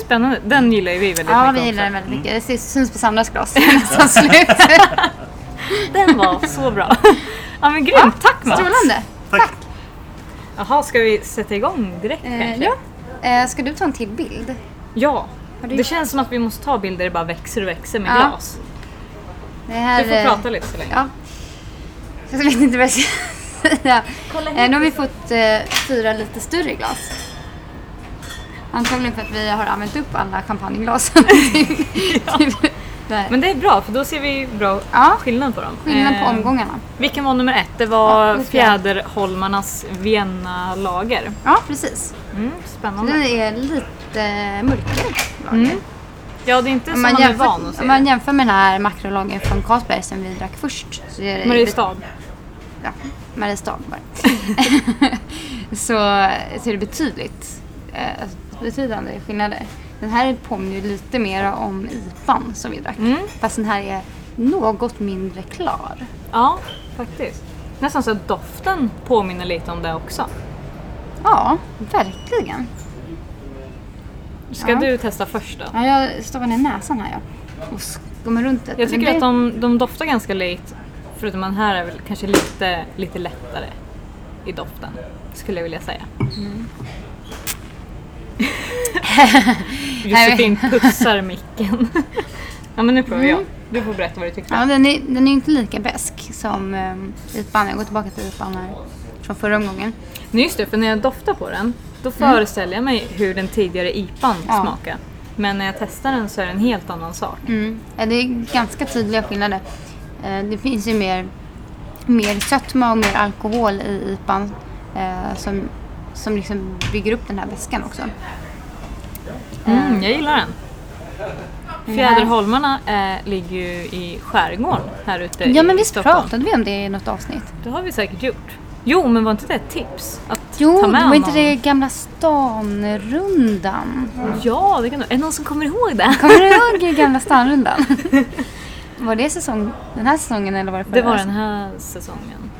Speaker 1: Spännande. Den gillar ju vi väldigt
Speaker 2: mm. Ja,
Speaker 1: mycket
Speaker 2: vi gillar den
Speaker 1: också.
Speaker 2: väldigt mycket. Det syns- syns på Sandras glas. Nästan slut.
Speaker 1: Den var så bra. Ja men grymt, tack Mats!
Speaker 2: Strålande.
Speaker 3: Tack!
Speaker 1: Jaha, ska vi sätta igång direkt
Speaker 2: Eh,
Speaker 1: kanske?
Speaker 2: ja. Eh, ska du ta en till bild?
Speaker 1: Ja.
Speaker 2: Har du-
Speaker 1: Det känns som att vi måste ta bilder där det bara växer och växer med
Speaker 2: Ja.
Speaker 1: glas.
Speaker 2: Det här,
Speaker 1: Du får
Speaker 2: eh,
Speaker 1: prata lite så länge.
Speaker 2: Ja. Jag vet inte vad jag ska säga. Eh, nu har vi fått eh, fyra lite större glas. Antagligen för att vi har använt upp alla champagneglas. Typ. till- till- där.
Speaker 1: Men det är bra för då ser vi bra
Speaker 2: Ja.
Speaker 1: skillnad på dem.
Speaker 2: Skillnad på
Speaker 1: Eh,
Speaker 2: omgångarna.
Speaker 1: Vilken var nummer ett? Det var
Speaker 2: Ja, det ska jag.
Speaker 1: Fjäderholmarnas Vienna-lager.
Speaker 2: Ja, precis.
Speaker 1: Mm, spännande.
Speaker 2: Det är lite mörkare lager.
Speaker 1: Ja, det är inte
Speaker 2: Om
Speaker 1: som
Speaker 2: man,
Speaker 1: man Alltså, är
Speaker 2: jämför,
Speaker 1: van att se.
Speaker 2: om man jämför med den här makrolagen från Carlsberg som vi drack först. Så är det
Speaker 1: Mariestad.
Speaker 2: ja, Mariestad var det. så, så är det betydligt eh, alltså betydande skillnader. Den här påminner ju lite mer om IPAn som vi drack.
Speaker 1: Mm.
Speaker 2: Fast den här är något mindre klar.
Speaker 1: Ja, faktiskt. Nästan så att doften påminner lite om det också.
Speaker 2: Ja, verkligen.
Speaker 1: Ska
Speaker 2: Ja.
Speaker 1: du testa först då?
Speaker 2: Ja, jag stoppar ner näsan här ja. och skummar runt lite.
Speaker 1: Jag
Speaker 2: Men
Speaker 1: tycker
Speaker 2: det-
Speaker 1: att de, de doftar ganska likt. Förutom den här är väl kanske lite, lite lättare i doften. Skulle jag vilja säga.
Speaker 2: Mm.
Speaker 1: Josefin pussar micken. ja men nu provar
Speaker 2: Mm.
Speaker 1: jag. Du får berätta vad du tyckte.
Speaker 2: Ja, den är, den är ju inte lika besk som eh, IPAn. Jag går tillbaka till IPAn här från förra omgången.
Speaker 1: Nej just det, för när jag doftar på den då föreställer jag mig hur den tidigare IPan
Speaker 2: Mm. Ja.
Speaker 1: smakade. Men när jag testar den så är det en helt annan sak.
Speaker 2: Mm. Ja, det är ganska tydliga skillnader. Eh, Det finns ju mer, mer sötma och mer alkohol i IPAn eh, som, som liksom bygger upp den här väskan också.
Speaker 1: Eh, Mm, jag gillar den.
Speaker 2: Mm.
Speaker 1: Fjäderholmarna eh, ligger ju i skärgården här ute
Speaker 2: Ja, men
Speaker 1: i
Speaker 2: visst
Speaker 1: Stockholm.
Speaker 2: pratade vi om det i något avsnitt?
Speaker 1: Det har vi säkert gjort. Jo, men var inte det ett tips? Att
Speaker 2: Jo,
Speaker 1: ta
Speaker 2: det
Speaker 1: med
Speaker 2: var inte
Speaker 1: någon?
Speaker 2: det Gamla stan-rundan.
Speaker 1: Ja, det kan du. Är det någon som kommer ihåg det?
Speaker 2: Kommer du ihåg Gamla stan-rundan? Var det säsong, den här säsongen eller var det förra?
Speaker 1: Det var den här säsongen.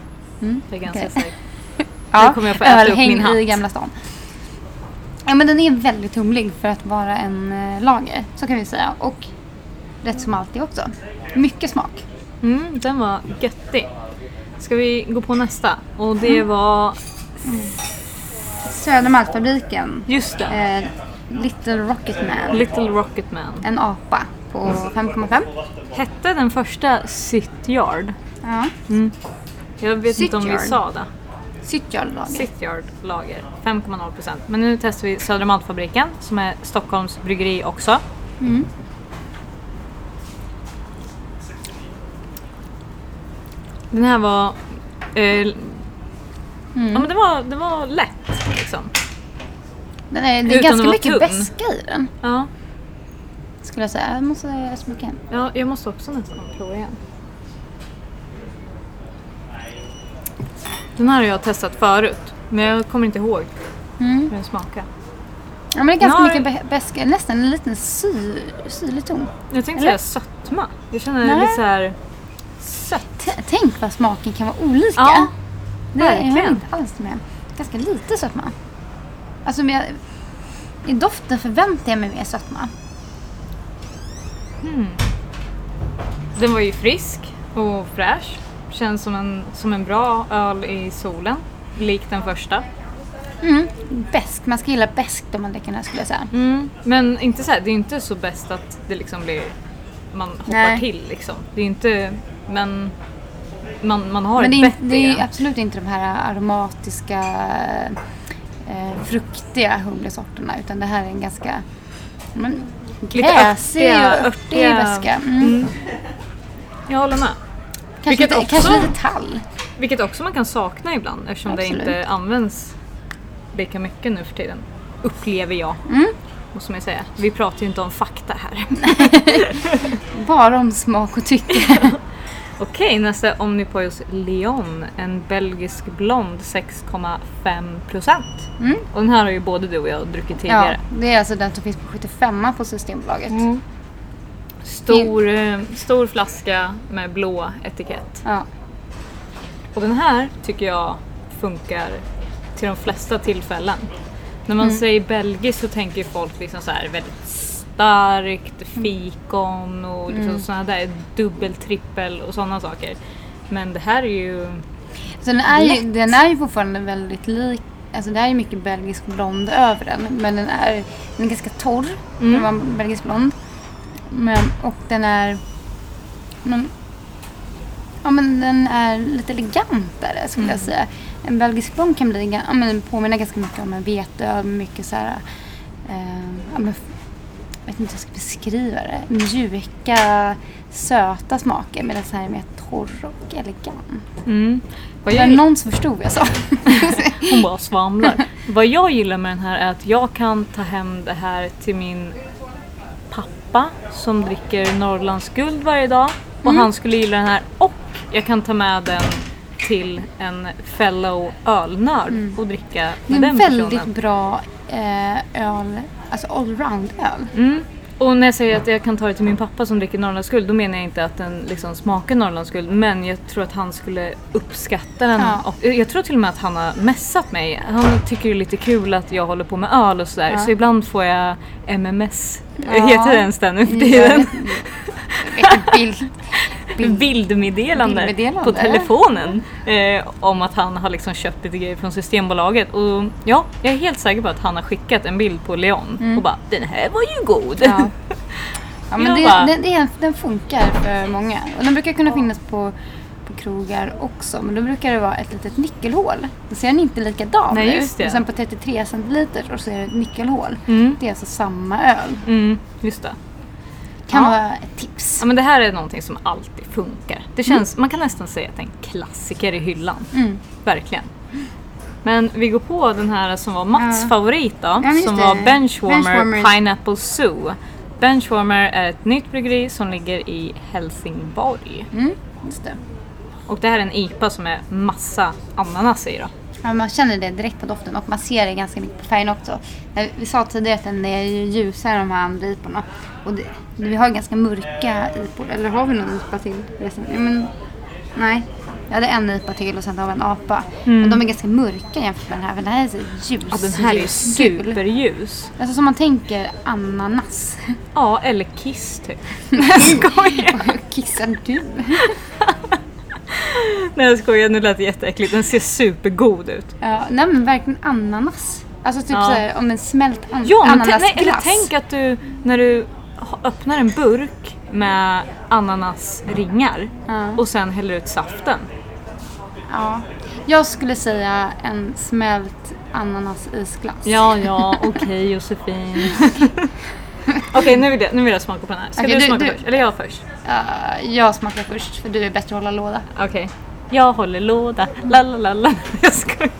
Speaker 2: Mm,
Speaker 1: Det är ganska
Speaker 2: okej.
Speaker 1: säkert.
Speaker 2: Ja,
Speaker 1: Nu kommer jag få äta upp
Speaker 2: ölhäng
Speaker 1: min hatt.
Speaker 2: i Gamla stan. Ja, men den är väldigt humlig för att vara en eh, lager, så kan vi säga. Och rätt som alltid också. Mycket smak.
Speaker 1: Mm, den var göttig. Ska vi gå på nästa? Och det
Speaker 2: Mm.
Speaker 1: var...
Speaker 2: Södermalmsfabriken,
Speaker 1: Just det.
Speaker 2: eh, Little Rocketman,
Speaker 1: Little Rocket Man.
Speaker 2: en apa på 5,5.
Speaker 1: Hette den första Cityard?
Speaker 2: Ja,
Speaker 1: Jag vet inte om vi
Speaker 2: Cityard.
Speaker 1: sa det.
Speaker 2: Cityard lager.
Speaker 1: Cityard lager, 5,0%. Men nu testar vi Södermalmsfabriken som är Stockholms bryggeri också.
Speaker 2: Mm.
Speaker 1: Den här var... Eh, Ja
Speaker 2: Mm.
Speaker 1: men det var, det var lätt liksom.
Speaker 2: Den är, det
Speaker 1: Utan
Speaker 2: är
Speaker 1: att
Speaker 2: ganska
Speaker 1: vara
Speaker 2: mycket
Speaker 1: tunn.
Speaker 2: beska i den,
Speaker 1: Ja,
Speaker 2: skulle jag säga. Jag måste smaka in.
Speaker 1: ja, jag måste också nästan prova igen. Den här har jag testat förut men jag kommer inte ihåg
Speaker 2: Mm.
Speaker 1: hur den smakade.
Speaker 2: Ja, men det är ganska
Speaker 1: Nu har-
Speaker 2: mycket be- beska, nästan en liten sy, syrlig ton.
Speaker 1: Jag tänkte
Speaker 2: Eller?
Speaker 1: säga sötma. Jag känner
Speaker 2: Nej.
Speaker 1: lite så här sött.
Speaker 2: T- Tänk vad smaken kan vara olika.
Speaker 1: Ja,
Speaker 2: det är jag
Speaker 1: verkligen.
Speaker 2: inte alls med. Ganska lite sötma. Alltså, men jag, i doften förväntar jag mig mer sötma.
Speaker 1: Den var ju frisk och fräsch. Känns som en, som en bra öl i solen. Lik den första.
Speaker 2: Mm. Bäsk. Man ska gilla bäsk om man dricker den här skulle jag säga.
Speaker 1: Mm. Men inte så här, det är inte så bäst att det liksom blir... Man hoppar
Speaker 2: Nej.
Speaker 1: till liksom. Det är inte... Men man, man har
Speaker 2: Men det
Speaker 1: ett
Speaker 2: är, in-
Speaker 1: bett
Speaker 2: det
Speaker 1: i
Speaker 2: är
Speaker 1: den.
Speaker 2: absolut inte de här aromatiska, eh, fruktiga humlesorterna utan det här är en ganska men,
Speaker 1: Lite
Speaker 2: gräsig
Speaker 1: örtiga,
Speaker 2: och örtig
Speaker 1: örtiga-
Speaker 2: väska. Mm.
Speaker 1: Jag håller med.
Speaker 2: Kanske,
Speaker 1: Vilket
Speaker 2: lite,
Speaker 1: också-
Speaker 2: kanske lite tall.
Speaker 1: Vilket också man kan sakna ibland eftersom det
Speaker 2: Absolut.
Speaker 1: inte används lika mycket nu för tiden. Upplever jag.
Speaker 2: Mm.
Speaker 1: Måste man ju säga. Vi pratar ju inte om fakta här.
Speaker 2: Bara om smak och tycke.
Speaker 1: Okej, nästa Omnipojos Leon. En belgisk blond 6,5 procent.
Speaker 2: Mm.
Speaker 1: Och den här har ju både du och jag druckit tidigare.
Speaker 2: Ja, det är alltså den som finns på 75 på Systembolaget.
Speaker 1: Mm. Stor, eh, stor flaska med blå etikett.
Speaker 2: Ja.
Speaker 1: Och den här tycker jag funkar till de flesta tillfällen. När man säger belgisk så tänker ju folk liksom så här väldigt starkt, fikon och liksom sådana där dubbel, trippel och sådana saker. Men det här är ju...
Speaker 2: Så den är, ju, den är ju fortfarande väldigt lik, alltså det är ju mycket belgisk blond över den. Men den är, den är ganska torr, den var belgisk blond. Men, och den är, men, ja men den är lite elegantare skulle jag säga. En belgisk blond kan bli, ga- ja men den påminner ganska mycket om en veteöl, mycket så här, eh, ja men, jag vet inte hur jag ska beskriva det, mjuka, söta smaker medan den här är mer torr och elegant.
Speaker 1: Mm. Vad
Speaker 2: Det
Speaker 1: jag
Speaker 2: var någon som förstod vad jag sa.
Speaker 1: Hon bara svamlar. Vad jag gillar med den här är att jag kan ta hem det här till min pappa som dricker Norrlands guld varje dag och
Speaker 2: Mm.
Speaker 1: han skulle gilla den här och jag kan ta med den till en fellow ölnörd och dricka
Speaker 2: Mm. Det
Speaker 1: med den
Speaker 2: är en väldigt
Speaker 1: personen.
Speaker 2: bra eh, öl, alltså allround-öl.
Speaker 1: Mm. Och när jag säger att jag kan ta det till min pappa som dricker Norrlands guld då menar jag inte att den liksom smakar Norrlands guld men jag tror att han skulle uppskatta den.
Speaker 2: Ja.
Speaker 1: Och jag tror till och med att han har messat mig. Han tycker det är lite kul att jag håller på med öl och sådär
Speaker 2: Ja.
Speaker 1: så ibland får jag MMS.
Speaker 2: Ja.
Speaker 1: Heter det ens det nu för tiden?
Speaker 2: Vilket bild. bild.
Speaker 1: Bildmeddelande, på
Speaker 2: Bildmeddelande.
Speaker 1: telefonen eh, om att han har liksom köpt lite grejer från Systembolaget. Och ja, jag är helt säker på att han har skickat en bild på Leon och bara “den här var ju god”.
Speaker 2: Mm. Ja. Ja, men
Speaker 1: Jag
Speaker 2: det,
Speaker 1: bara-
Speaker 2: den, det är- den funkar för många. Och den brukar kunna finnas på, på krogar också. Men då brukar det vara ett litet nyckelhål. Då ser den inte likadan
Speaker 1: Nej,
Speaker 2: ut.
Speaker 1: just det.
Speaker 2: Och sen på 33 centiliter och så är det ett nyckelhål.
Speaker 1: Mm.
Speaker 2: Det är alltså samma öl.
Speaker 1: Mm, just det.
Speaker 2: Kan
Speaker 1: Ja.
Speaker 2: vara ett tips.
Speaker 1: Ja, men det här är någonting som alltid funkar. Det känns, Man kan nästan säga att det är en klassiker i hyllan.
Speaker 2: Mm.
Speaker 1: Verkligen. Men vi går på den här som var Mats
Speaker 2: Ja.
Speaker 1: favorit då,
Speaker 2: men just
Speaker 1: som
Speaker 2: det.
Speaker 1: var Benchwarmer,
Speaker 2: Benchwarmers.
Speaker 1: Pineapple Zoo. Benchwarmer är ett nytt bryggeri som ligger i Helsingborg.
Speaker 2: Mm. Just det.
Speaker 1: Och det här är en IPA som är massa ananas i då.
Speaker 2: Ja, man känner det direkt på doften och man ser det ganska mycket på färgen också. Eh, Vi sa tidigare att den är ju ljusare än de här andra iporna. Och det, vi har ju ganska mörka ipor. Eller har vi någon ipa till? förresten? Ja, men, nej, jag hade en ipa till och sen har vi en apa. Men de är ganska mörka jämfört med den här. För den här är så ljus,
Speaker 1: Mm. Ja, den här är
Speaker 2: ljusgul.
Speaker 1: superljus.
Speaker 2: Alltså som man tänker ananas.
Speaker 1: Ja, eller Kiss typ. Nej jag skojar!
Speaker 2: Kissar du?
Speaker 1: Nej jag skojar, nu lät det jätteäckligt. Den ser supergod ut.
Speaker 2: Ja, nej men verkligen ananas. Alltså typ
Speaker 1: Ja.
Speaker 2: såhär om en smält an-
Speaker 1: Ja, men tänk-
Speaker 2: ananasglass.
Speaker 1: nej, eller tänk att du när du ha- öppnar en burk med ananasringar
Speaker 2: Ja.
Speaker 1: och sen häller ut saften.
Speaker 2: Ja. Jag skulle säga en smält anananisglass.
Speaker 1: Ja, ja, okej Josefin. okej, nu, vill jag- nu vill jag smaka på den här. Ska
Speaker 2: Okej,
Speaker 1: du
Speaker 2: du-
Speaker 1: smaka
Speaker 2: du-
Speaker 1: först? Eller jag först?
Speaker 2: Eh, jag smakar först för du är bättre att hålla låda.
Speaker 1: Okej. Jag håller låda, la la la la. Jag skojar.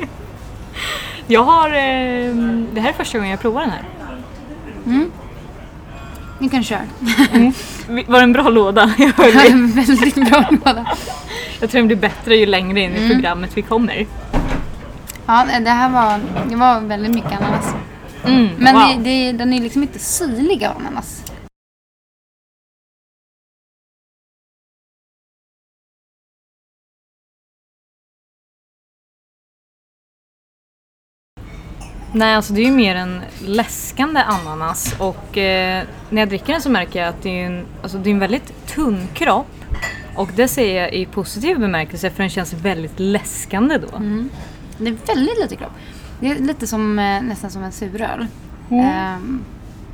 Speaker 1: Jag har... Eh, det här är första gången jag provar den här.
Speaker 2: Nu kan du köra.
Speaker 1: Var det en bra låda? Jag,
Speaker 2: Det är
Speaker 1: höll i.
Speaker 2: en väldigt bra låda.
Speaker 1: jag tror den blir bättre ju längre in i programmet vi kommer.
Speaker 2: Ja, nej, det här var, det var väldigt mycket ananas.
Speaker 1: Mm,
Speaker 2: Men
Speaker 1: wow.
Speaker 2: det, det, den är liksom inte syrlig av ananas.
Speaker 1: Nej, alltså det är ju mer en läskande ananas och eh, när jag dricker den så märker jag att det är en, alltså det är en väldigt tunn kropp och det ser jag i positiv bemärkelse för den känns väldigt läskande då.
Speaker 2: Mm. Det är väldigt lite kropp. Det är lite som, eh, nästan som en suröl.
Speaker 1: Mm.
Speaker 2: Ehm,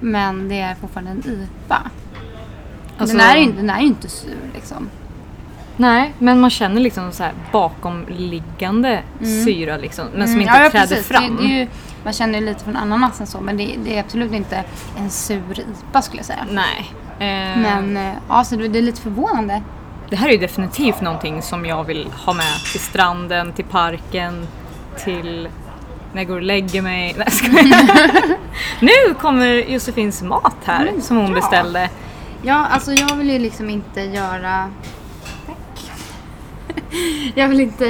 Speaker 2: men det är fortfarande en IPA.
Speaker 1: Alltså-
Speaker 2: den, är ju, den är ju inte sur liksom.
Speaker 1: Nej, men man känner liksom så här bakomliggande syra liksom, men som inte
Speaker 2: Mm. ja, ja,
Speaker 1: träder
Speaker 2: precis.
Speaker 1: fram.
Speaker 2: Det, det är ju, man känner ju lite från ananasen så, men det, det är absolut inte en sur IPA skulle jag säga.
Speaker 1: Nej. Eh,
Speaker 2: Men eh, ja, så det, det är lite förvånande.
Speaker 1: Det här är ju definitivt någonting som jag vill ha med till stranden, till parken, till när jag går och lägger mig. Nej, jag skojar. Nu kommer Josefins mat här som hon
Speaker 2: ja.
Speaker 1: beställde.
Speaker 2: Ja, alltså jag vill ju liksom inte göra... Tack. jag vill inte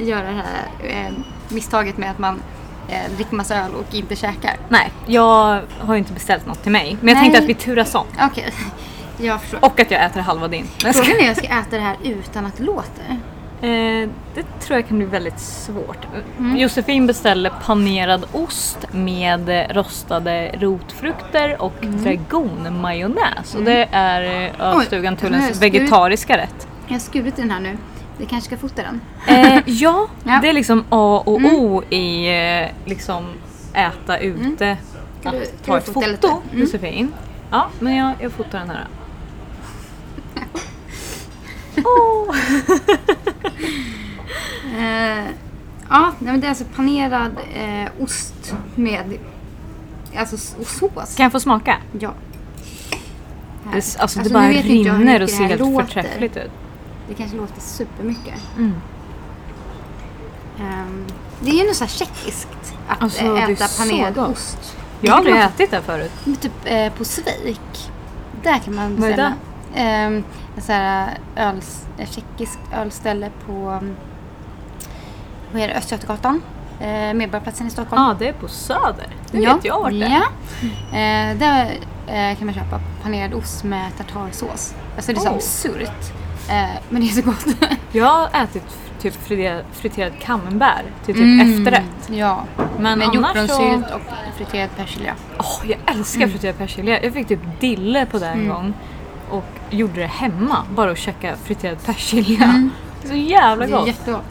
Speaker 2: göra det här eh, misstaget med att man eh, dricker massa öl och inte käkar.
Speaker 1: Nej, jag har ju inte beställt något till mig. Men jag
Speaker 2: Nej.
Speaker 1: tänkte att vi turas om.
Speaker 2: Okej. Jag förstår.
Speaker 1: Och att jag äter halva din. Nej, jag skojar.
Speaker 2: Frågan är om jag ska äta det här utan att det låter.
Speaker 1: Eh, det tror jag kan bli väldigt svårt.
Speaker 2: Mm.
Speaker 1: Josefin beställde panerad ost med rostade rotfrukter och dragonmajonnäs. Och det är eh, Ölstugan
Speaker 2: Mm. Oj, den här
Speaker 1: Tullens
Speaker 2: ska vi-
Speaker 1: vegetariska rätt.
Speaker 2: Jag har skurit i den här nu. Vi kanske ska fota den.
Speaker 1: Eh, ja,
Speaker 2: Ja. Mm.
Speaker 1: det är liksom A och O i eh, liksom äta ute.
Speaker 2: Kan Mm. du-
Speaker 1: att
Speaker 2: kan
Speaker 1: ta
Speaker 2: du
Speaker 1: ett
Speaker 2: fota lite?
Speaker 1: foto,
Speaker 2: Mm.
Speaker 1: Josefin. Ja, men jag, jag fotar den här. Åh!
Speaker 2: Eh, ja, nej, men det är alltså panerad eh, ost med alltså, s- och sås.
Speaker 1: Kan jag få smaka?
Speaker 2: Ja. Här.
Speaker 1: Det, s- alltså,
Speaker 2: Alltså,
Speaker 1: det
Speaker 2: nu
Speaker 1: bara
Speaker 2: vet inte jag hur
Speaker 1: rinner och
Speaker 2: mycket
Speaker 1: ser
Speaker 2: det här
Speaker 1: helt
Speaker 2: låter.
Speaker 1: förträffligt ut.
Speaker 2: Det kanske låter supermycket.
Speaker 1: Mm.
Speaker 2: Ehm, det är ju något så här tjeckiskt att
Speaker 1: Alltså,
Speaker 2: eh,
Speaker 1: det är
Speaker 2: äta
Speaker 1: så
Speaker 2: panerad
Speaker 1: gott.
Speaker 2: ost.
Speaker 1: Jag har aldrig
Speaker 2: Det kan
Speaker 1: ätit det förut.
Speaker 2: man- men Typ eh, på Svik. Där kan man
Speaker 1: Vad är
Speaker 2: beställa. Ehm, ett så här öl, ett tjeckiskt ölställe på mm, vad är det, Östgötagatan. Eh, Medborgarplatsen i Stockholm.
Speaker 1: Ja, ah, det är på Söder. Det vet jag vart det är.
Speaker 2: Ja. Eh, där eh, kan man köpa panerad ost med tartarsås. Alltså det är så
Speaker 1: Oh.
Speaker 2: absurt. Eh, men det är så gott. Typ
Speaker 1: Jag har ätit f- typ friterad, friterad camembert till typ efterrätt.
Speaker 2: Ja.
Speaker 1: Men
Speaker 2: Med
Speaker 1: annars så...
Speaker 2: hjortronsylt och friterad persilja.
Speaker 1: Åh, jag älskar friterad persilja. Jag fick typ dille på det en gång. Och gjorde det hemma, bara att käka friterad persilja. Så jävla
Speaker 2: Det är
Speaker 1: gott.
Speaker 2: jättegott.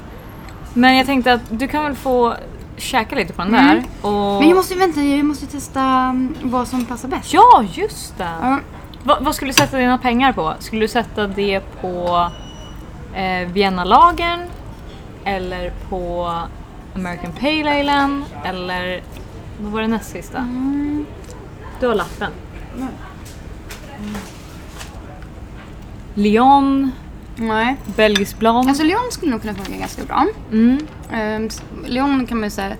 Speaker 1: Men jag tänkte att du kan väl få käka lite på den
Speaker 2: Mm.
Speaker 1: där. Och...
Speaker 2: Men jag måste vänta, jag måste testa mm, vad som passar bäst.
Speaker 1: Ja, just det!
Speaker 2: Ja.
Speaker 1: Va, vad skulle du sätta dina pengar på? Skulle du sätta det på eh, Vienna-lagen eller på American Pale Island eller vad var det näst sista? Du har lappen.
Speaker 2: Mm.
Speaker 1: Lyon, Mm.
Speaker 2: Nej.
Speaker 1: belgisk blond.
Speaker 2: Alltså Lyon skulle nog kunna funka ganska bra.
Speaker 1: mm.
Speaker 2: Um, Lyon kan man ju säga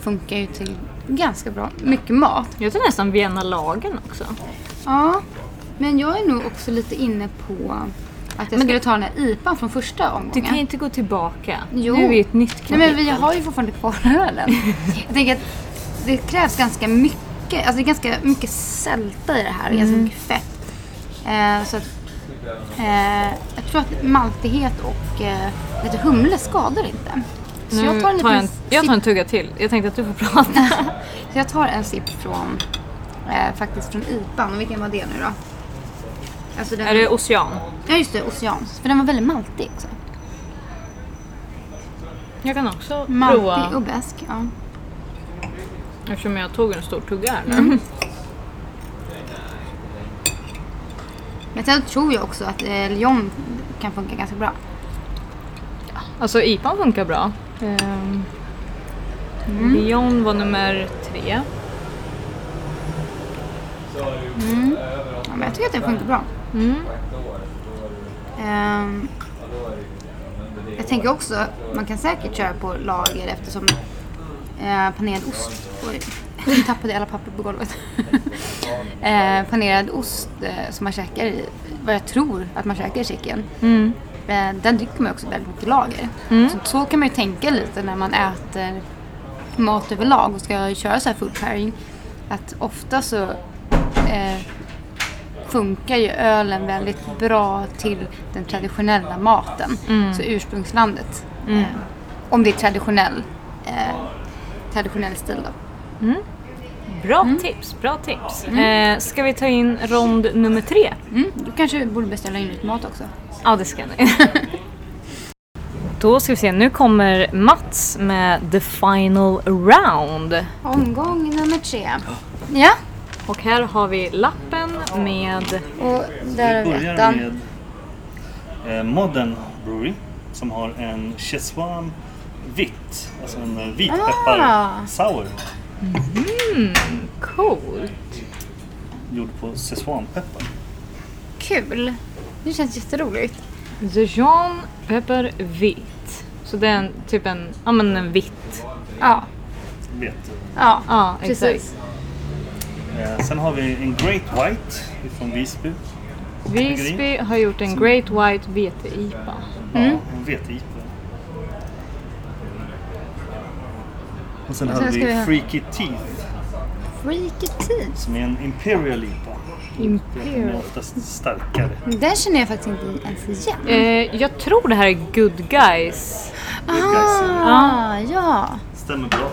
Speaker 2: funkar ju till ganska bra. Mycket mat.
Speaker 1: Jag tror nästan Vienna-lagen också.
Speaker 2: Ja, men jag är nog också lite inne på att jag skulle ta den här IPan från första
Speaker 1: Du kan ju
Speaker 2: omgången.
Speaker 1: inte gå tillbaka.
Speaker 2: Jo.
Speaker 1: Nu är vi i ett nytt kapitel.
Speaker 2: Nej men vi har ju fortfarande kvar ölen. jag tänker att det krävs ganska mycket, alltså det är ganska mycket sälta i det här, ganska mycket fett. Eh, så att, eh, jag tror att maltighet och eh, lite humle skadar inte. Så
Speaker 1: Nu
Speaker 2: jag tar en
Speaker 1: tar jag, en,
Speaker 2: liten
Speaker 1: jag
Speaker 2: sipp-
Speaker 1: tar en tugga till. Jag tänkte att du får prata.
Speaker 2: Så jag tar en sipp från, eh, faktiskt från IPan. Och vilken var det nu då? Alltså den,
Speaker 1: är det ocean?
Speaker 2: Ja just det, oceans. För den var väldigt maltig också.
Speaker 1: Jag kan också prova.
Speaker 2: Maltig och besk. Ja.
Speaker 1: Eftersom jag tog en stor tugga här nu.
Speaker 2: Men sen tror jag också att eh, Lyon kan funka ganska bra.
Speaker 1: Alltså IPAn funkar bra. Um, Lyon var nummer tre.
Speaker 2: Ja, men jag tycker att den funkar bra.
Speaker 1: Mm.
Speaker 2: Ehm, jag tänker också, man kan säkert köra på lager eftersom eh, panerad ost... Oj, nu tappade jag alla papper på golvet. eh, panerad ost eh, som man käkar i, vad jag tror att man käkar i Tjeckien,
Speaker 1: Mm.
Speaker 2: eh, den dricker man också väldigt mycket lager. Så, så kan man ju tänka lite när man äter mat överlag och ska köra så här food pairing. Att ofta så eh, funkar ju ölen väldigt bra till den traditionella maten. Så ursprungslandet. Eh, om det är traditionell, eh, traditionell stil då.
Speaker 1: Bra tips, bra tips. Eh, ska vi ta in rond nummer tre?
Speaker 2: Mm, du kanske borde beställa in lite mat också.
Speaker 1: Ja, det ska ni. Då ska vi se, nu kommer Mats med the final round.
Speaker 2: Omgång nummer tre. Ja,
Speaker 1: Och här har vi lappen med...
Speaker 2: och där har
Speaker 3: Vi
Speaker 2: vi
Speaker 3: börjar
Speaker 2: ettan.
Speaker 3: med eh, Modern Brewery som har en Cheswan vitt, alltså en eh, vitpeppar
Speaker 2: Ah.
Speaker 3: sour
Speaker 1: Cool.
Speaker 3: gjord på Szechuanpeppar.
Speaker 2: Kul! Det känns jätteroligt.
Speaker 1: Dijon pepper vitt. Så det är en, typ en, ja men en vitt.
Speaker 2: Ja,
Speaker 3: Vet.
Speaker 2: ja.
Speaker 1: Ja,
Speaker 2: Precis.
Speaker 1: exakt.
Speaker 3: Eh, Sen har vi en Great White från Visby.
Speaker 1: Visby har gjort en Great White vete-IPA.
Speaker 2: Mm.
Speaker 3: Ja, en vete-IPA. Och sen
Speaker 2: Och sen
Speaker 3: hade vi
Speaker 2: ska vi ha-
Speaker 3: Freaky Teeth
Speaker 2: Freaky
Speaker 3: som är en Imperial IPA. Den är
Speaker 4: Imperial.
Speaker 3: oftast starkare.
Speaker 2: Den känner jag faktiskt inte ens igen.
Speaker 1: Eh, jag tror det här är Good Guys.
Speaker 3: Guys.
Speaker 2: Ah, ja.
Speaker 3: Stämmer bra.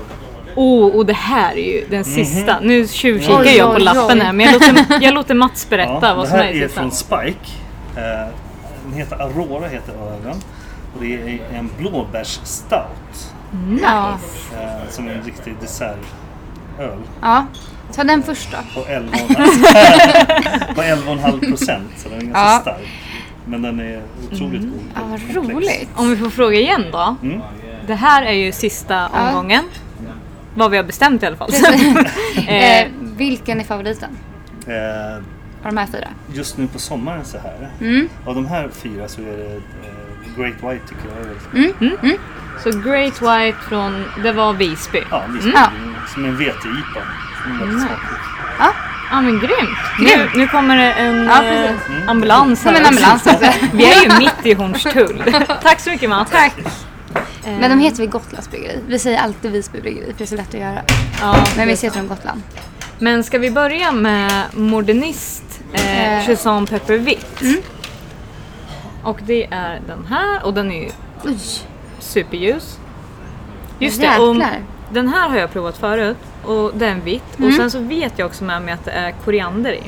Speaker 1: Oh, och det här är ju
Speaker 3: Mhm.
Speaker 1: den sista. Nu tjuvkikar
Speaker 2: Oj,
Speaker 1: jag på
Speaker 2: oj,
Speaker 1: lappen
Speaker 2: oj.
Speaker 1: här men jag låter, jag låter Mats
Speaker 3: Ja,
Speaker 1: berätta vad
Speaker 3: det
Speaker 1: som
Speaker 3: här
Speaker 1: är i
Speaker 3: är
Speaker 1: sistan.
Speaker 3: från Spike. Eh, Den heter Aurora heter ölen. Och det är en blåbärsstout.
Speaker 2: ja.
Speaker 3: eh, Som är en riktig dessertöl.
Speaker 2: Ja. Ta den först då.
Speaker 3: På 11 på 11,5 procent. Så den är ganska
Speaker 2: Ja.
Speaker 3: stark. Men den är otroligt god.
Speaker 2: Ja, vad
Speaker 3: Komplex.
Speaker 2: roligt.
Speaker 1: Om vi får fråga igen då.
Speaker 3: Mm.
Speaker 1: Det här är ju sista
Speaker 2: Ja.
Speaker 1: omgången. Vad vi har bestämt i alla fall. eh,
Speaker 2: Eh, vilken är favoriten
Speaker 3: Eh,
Speaker 2: av de här fyra?
Speaker 3: just nu på sommaren så här.
Speaker 2: Mm.
Speaker 3: Av de här fyra så är det eh, Great White tycker jag är väldigt
Speaker 1: så Great White från, det var Visby. Ja
Speaker 3: Ja, visst.
Speaker 2: Ja.
Speaker 3: Som en vete-IPA. Som är väldigt
Speaker 1: Mm.
Speaker 3: smaklig.
Speaker 1: men grymt!
Speaker 2: Grymt.
Speaker 1: Nu, nu kommer det en
Speaker 2: Ja,
Speaker 1: eh,
Speaker 2: precis.
Speaker 1: ambulans
Speaker 2: Som en ambulans också.
Speaker 1: Vi är ju mitt i Hornstull. Tack så mycket Mats. Tack. Eh.
Speaker 2: Men de heter väl Gotlands bryggeri? Vi säger alltid Visby bryggeri för det är så lätt att göra.
Speaker 1: Ja,
Speaker 2: Men vi heter de Gotland.
Speaker 1: Men ska vi börja med Modernist eh,
Speaker 2: Eh. Mm.
Speaker 1: Cheson Pepper Vitt? Och det är den här och den är ju
Speaker 2: Oj,
Speaker 1: superljus. Just det, och
Speaker 2: jäklar. Mm.
Speaker 1: den här har jag provat förut och den är vitt. Och sen så vet jag också med mig att det är koriander i.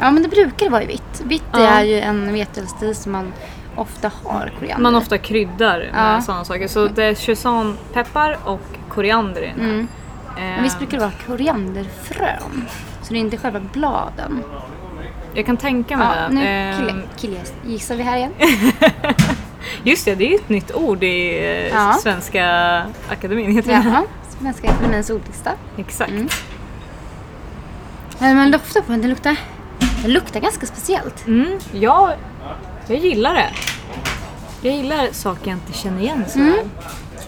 Speaker 2: Ja men det brukar vara i vitt. Vitt
Speaker 1: Ja.
Speaker 2: är ju en vetölsstil som man ofta har koriander
Speaker 1: Man
Speaker 2: i.
Speaker 1: ofta kryddar med
Speaker 2: Ja.
Speaker 1: sådana saker. Så det är chesanpeppar och koriander i den här.
Speaker 2: Mm. Men visst
Speaker 1: Eh,
Speaker 2: brukar det vara korianderfrön? Så det är inte själva bladen.
Speaker 1: Jag kan tänka mig
Speaker 2: Ja,
Speaker 1: det.
Speaker 2: nu
Speaker 1: Eh,
Speaker 2: kille, kille, gissar vi här igen.
Speaker 1: just det, det är ju ett nytt ord i eh,
Speaker 2: Ja.
Speaker 1: Svenska Akademin. Heter det.
Speaker 2: Jaha, Svenska Akademiens ordlista.
Speaker 1: Exakt.
Speaker 2: Mm. Men man doftar på den, den luktar, den luktar ganska speciellt.
Speaker 1: Mm, jag, jag gillar det. Jag gillar saker jag inte känner igen så
Speaker 2: Mm,
Speaker 1: väl.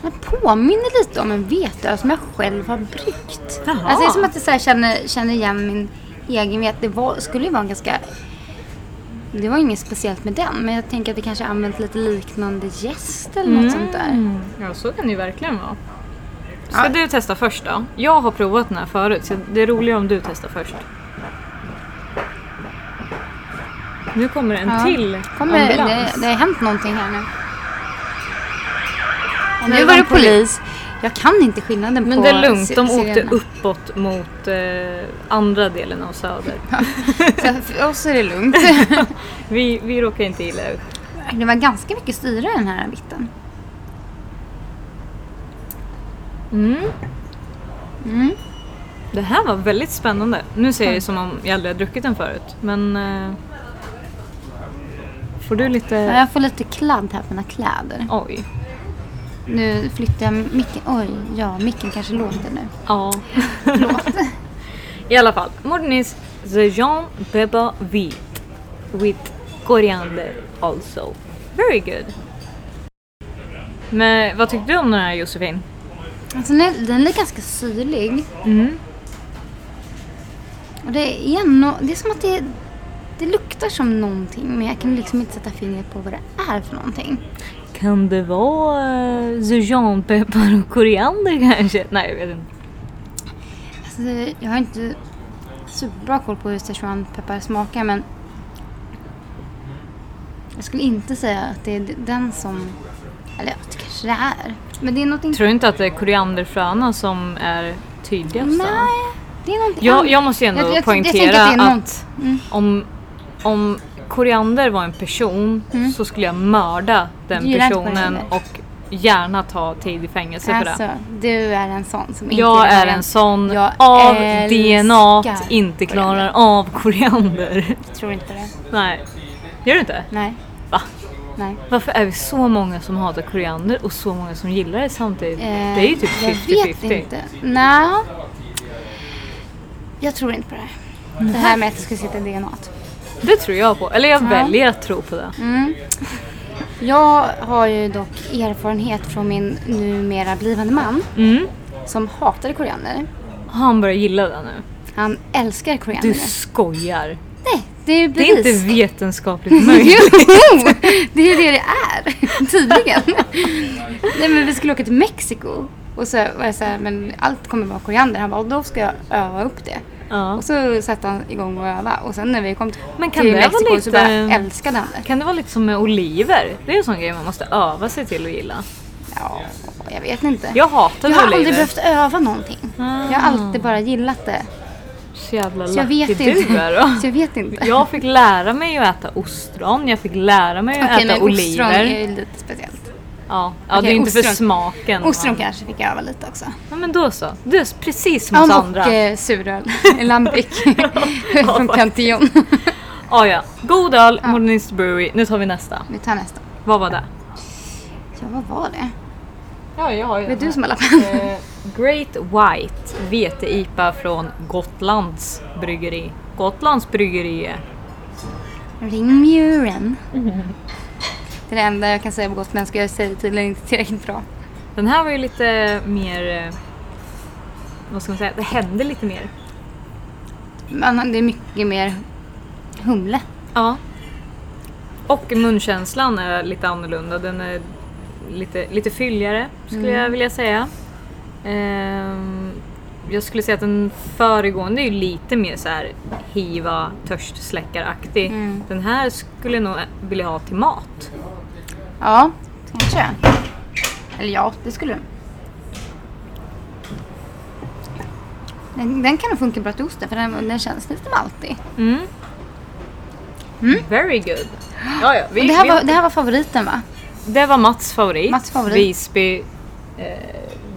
Speaker 2: Den påminner lite om en veteöl som jag själv har bryggt.
Speaker 1: Jaha.
Speaker 2: Alltså det är som att jag så här känner, känner igen min egen vete. Det var, skulle ju vara en ganska... Det var inget speciellt med den, men jag tänker att det kanske använt lite liknande gäst eller något sånt där.
Speaker 1: Mm, Ja, så kan det ju verkligen vara. Ska
Speaker 2: Ja.
Speaker 1: du testa först då? Jag har provat den här förut, så det är roligare om du testar först. Nu kommer en
Speaker 2: Ja.
Speaker 1: till
Speaker 2: Kommer, det,
Speaker 1: ambulans.
Speaker 2: det har hänt någonting här nu. Och
Speaker 1: Nej,
Speaker 2: nu var
Speaker 1: de
Speaker 2: det
Speaker 1: poli-
Speaker 2: polis. Jag kan inte skillnaden
Speaker 1: Men
Speaker 2: på
Speaker 1: det är lugnt,
Speaker 2: si-
Speaker 1: de åkte
Speaker 2: sirenerna.
Speaker 1: uppåt mot eh, andra delen av Söder.
Speaker 2: Så för oss är det lugnt.
Speaker 1: Vi, vi råkar inte illa ut.
Speaker 2: det var ganska mycket syra i den här vitten.
Speaker 1: Mm.
Speaker 2: Mm.
Speaker 1: Det här var väldigt spännande. Nu ser jag ju som om jag aldrig har druckit den förut, men... Eh, får du
Speaker 2: Ja,
Speaker 1: lite...
Speaker 2: Jag får lite kladd här på mina kläder.
Speaker 1: Oj.
Speaker 2: Nu flyttar jag micken. Oj, ja, micken kanske låter nu.
Speaker 1: Ja.
Speaker 2: Förlåt.
Speaker 1: I alla fall. Modernis The Jean Beba Wheat. With koriander also. Very good. Men vad tyckte du om den här Josefin?
Speaker 2: Alltså, den, är, den är ganska syrlig.
Speaker 1: Mm.
Speaker 2: Och det, är no, det är som att det, det luktar som någonting men jag kan liksom inte sätta fingret på vad det är för någonting.
Speaker 1: Kan det vara eh, zujanpeppar och koriander kanske? Nej, jag vet inte.
Speaker 2: Alltså, det- jag har inte superbra koll på hur szechuanpeppar smakar men jag skulle inte säga att det är d- den som... Eller ja, det kanske det är. Men det är någonting...
Speaker 1: Tror du inte att det är korianderfröna som är tydligast? då?
Speaker 2: Nej, det är någonting
Speaker 1: Jag,
Speaker 2: annat.
Speaker 1: jag måste ju ändå
Speaker 2: Jag- jag- jag
Speaker 1: poängtera
Speaker 2: tänker att det är
Speaker 1: att,
Speaker 2: något. Mm.
Speaker 1: om, om koriander var en person så skulle jag mörda den
Speaker 2: Du Mm. gillar inte
Speaker 1: personen
Speaker 2: koriander.
Speaker 1: och gärna ta tid i fängelse för
Speaker 2: Alltså,
Speaker 1: Typ det.
Speaker 2: du är en sån som inte
Speaker 1: Jag
Speaker 2: gillar
Speaker 1: är en sån
Speaker 2: Jag
Speaker 1: av
Speaker 2: älskar
Speaker 1: DNA t inte klarar
Speaker 2: koriander.
Speaker 1: av koriander.
Speaker 2: Jag tror inte det.
Speaker 1: Nej, gör du inte?
Speaker 2: Nej.
Speaker 1: Va?
Speaker 2: Nej.
Speaker 1: Varför är vi så många som hatar koriander och så många som gillar det samtidigt?
Speaker 2: Eh,
Speaker 1: det är ju typ
Speaker 2: Jag vet
Speaker 1: 50-50.
Speaker 2: inte. Nej. Jag tror inte på det här. Det här med att det ska sitta i DNA. t.
Speaker 1: Det tror jag på. Eller jag
Speaker 2: Ja.
Speaker 1: väljer att tro på det.
Speaker 2: Mm. Jag har ju dock erfarenhet från min numera blivande man
Speaker 1: Mm.
Speaker 2: som hatade koriander.
Speaker 1: Har han börjat gilla det nu?
Speaker 2: Han älskar koriander.
Speaker 1: Du skojar!
Speaker 2: Nej, det är
Speaker 1: Det
Speaker 2: bevis.
Speaker 1: är inte vetenskapligt möjligt.
Speaker 2: Jo, det är ju det det är. Tydligen. Nej men vi skulle åka till Mexiko Och så var jag så här, men allt kommer vara koriander. Han bara, och då ska jag öva upp det.
Speaker 1: Ja.
Speaker 2: Och så satte han igång och öva. Och sen när vi kom till
Speaker 1: Men kan
Speaker 2: till
Speaker 1: det vara
Speaker 2: Mexiko
Speaker 1: lite-
Speaker 2: så bara älskade han det.
Speaker 1: Kan det vara lite som med oliver? Det är ju en sån grej man måste öva sig till att gilla.
Speaker 2: Ja, jag vet inte.
Speaker 1: Jag hatar
Speaker 2: jag har
Speaker 1: oliver.
Speaker 2: aldrig behövt öva någonting. Jag har alltid bara gillat det.
Speaker 1: Så jävla
Speaker 2: Så jag
Speaker 1: lucky
Speaker 2: vet
Speaker 1: du
Speaker 2: inte.
Speaker 1: är då.
Speaker 2: Så jag vet inte.
Speaker 1: Jag fick lära mig att äta ostron, jag fick lära mig att
Speaker 2: Okej, men
Speaker 1: äta
Speaker 2: ostron
Speaker 1: oliver.
Speaker 2: är ju lite speciellt.
Speaker 1: Ja, ja
Speaker 2: Okej,
Speaker 1: det är inte för
Speaker 2: ostron.
Speaker 1: smaken.
Speaker 2: Ostron kanske fick jag öva lite också.
Speaker 1: Ja, men då så. Du är precis som
Speaker 2: Ja,
Speaker 1: oss
Speaker 2: och
Speaker 1: andra.
Speaker 2: eh, suröl. Lambic.
Speaker 1: Ja,
Speaker 2: Från
Speaker 1: faktiskt.
Speaker 2: Cantillon.
Speaker 1: Ja, Ah, ja. God öl, Modernist Brewery. Nu tar vi nästa.
Speaker 2: Vi tar nästa.
Speaker 1: Vad var det?
Speaker 2: Ja, vad var det?
Speaker 1: Ja, jag har ju
Speaker 2: Det är du som har lappat.
Speaker 1: Eh. Great White vete-IPA från Gotlands bryggeri. Gotlands bryggeri är...
Speaker 2: Ringmuren. Det är det enda jag kan säga på gotländska. Jag säger tydligen inte tillräckligt bra.
Speaker 1: Den här var ju lite mer... eh, Vad ska man säga? Det hände lite mer.
Speaker 2: Men det är mycket mer humle.
Speaker 1: Ja. Och munkänslan är lite annorlunda. Den är lite, lite fylligare skulle
Speaker 2: Mm.
Speaker 1: jag vilja säga. Ehm, jag skulle säga att den föregående är ju lite mer så här hiva törstsläckaraktig.
Speaker 2: Mm.
Speaker 1: Den här skulle jag nog vilja ha till mat.
Speaker 2: Ja, kanske. Eller ja, det skulle den. Den, den kan nog funka bra till osten för den, den känns lite maltig.
Speaker 1: Mm.
Speaker 2: Mm.
Speaker 1: Very good. Ja, ja, vi,
Speaker 2: Och det, här
Speaker 1: vi,
Speaker 2: var, det här var favoriten va?
Speaker 1: det var Mats favorit.
Speaker 2: Mats favorit.
Speaker 1: Visby. Eh,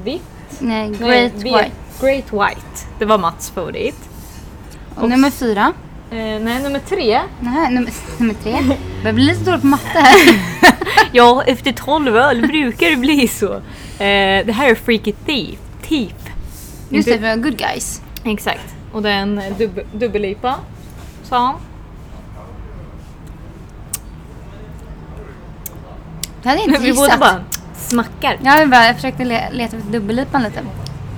Speaker 1: vitt?
Speaker 2: Nej,
Speaker 1: Nej,
Speaker 2: Great
Speaker 1: vi-
Speaker 2: White.
Speaker 1: Great White. Det var Mats favorit.
Speaker 2: Och nummer fyra.
Speaker 1: Eh, nej, nummer tre.
Speaker 2: Nej, nummer, nummer tre. Jag börjar bli lite dålig på matte här.
Speaker 1: Ja, efter 12 öl brukar det bli så. Eh, det här är Freaky Thief. Thief.
Speaker 2: Just det,
Speaker 1: Inte-
Speaker 2: vi har Good Guys.
Speaker 1: Exakt. Och det är en dub dubbellipa, sa han.
Speaker 2: Det hade jag inte
Speaker 1: Vi båda
Speaker 2: gissat.
Speaker 1: bara smackar.
Speaker 2: Ja, jag, bara, jag försökte le- leta efter dubbellipan lite.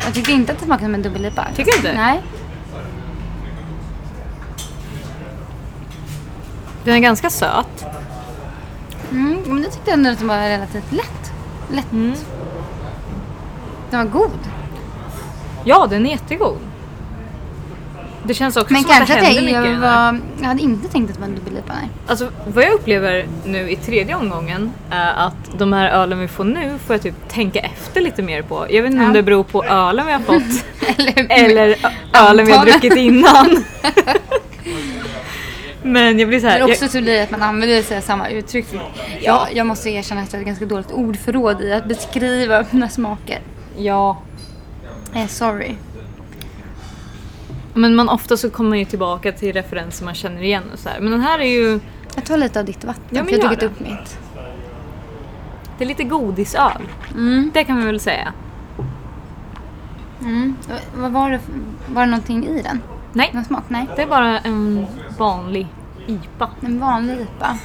Speaker 2: Jag tyckte inte att det smakade som en dubbellipa.
Speaker 1: Tycker du inte?
Speaker 2: Nej.
Speaker 1: Den är ganska söt.
Speaker 2: Mm, men det tyckte jag ändå att den var relativt lätt. Lätt.
Speaker 1: Mm.
Speaker 2: Den var god.
Speaker 1: Ja, den är jättegod. Det känns också
Speaker 2: Men
Speaker 1: som att det
Speaker 2: kanske att
Speaker 1: händer
Speaker 2: jag,
Speaker 1: mycket i
Speaker 2: jag,
Speaker 1: den här.
Speaker 2: var, jag hade inte tänkt att det var en dubbellipa. Nej.
Speaker 1: Alltså vad jag upplever nu i tredje omgången är att de här ölen vi får nu får jag typ tänka efter lite mer på. Jag vet inte
Speaker 2: Ja.
Speaker 1: om det beror på ölen vi har fått
Speaker 2: Eller,
Speaker 1: eller ö- ölen vi har
Speaker 2: Antalet.
Speaker 1: druckit innan. Men jag blir så här,
Speaker 2: Men
Speaker 1: jag,
Speaker 2: också så blir det att man använder sig av samma uttryck. Jag, jag måste erkänna att jag har ett ganska dåligt ordförråd i att beskriva mina smaker.
Speaker 1: ja.
Speaker 2: Eh, sorry.
Speaker 1: Men man ofta så kommer man ju tillbaka till referenser man känner igen och så här. Men den här är ju,
Speaker 2: Jag tar lite av ditt vatten
Speaker 1: Ja, men
Speaker 2: för jag
Speaker 1: gör
Speaker 2: har druckit
Speaker 1: det.
Speaker 2: upp mitt.
Speaker 1: det är lite godisöl.
Speaker 2: Mm.
Speaker 1: Det kan man väl säga.
Speaker 2: Mm. V- Vad var det? för- Var det någonting i den?
Speaker 1: Nej,
Speaker 2: Någon smak? Nej.
Speaker 1: det är bara en vanlig IPA.
Speaker 2: En vanlig IPA.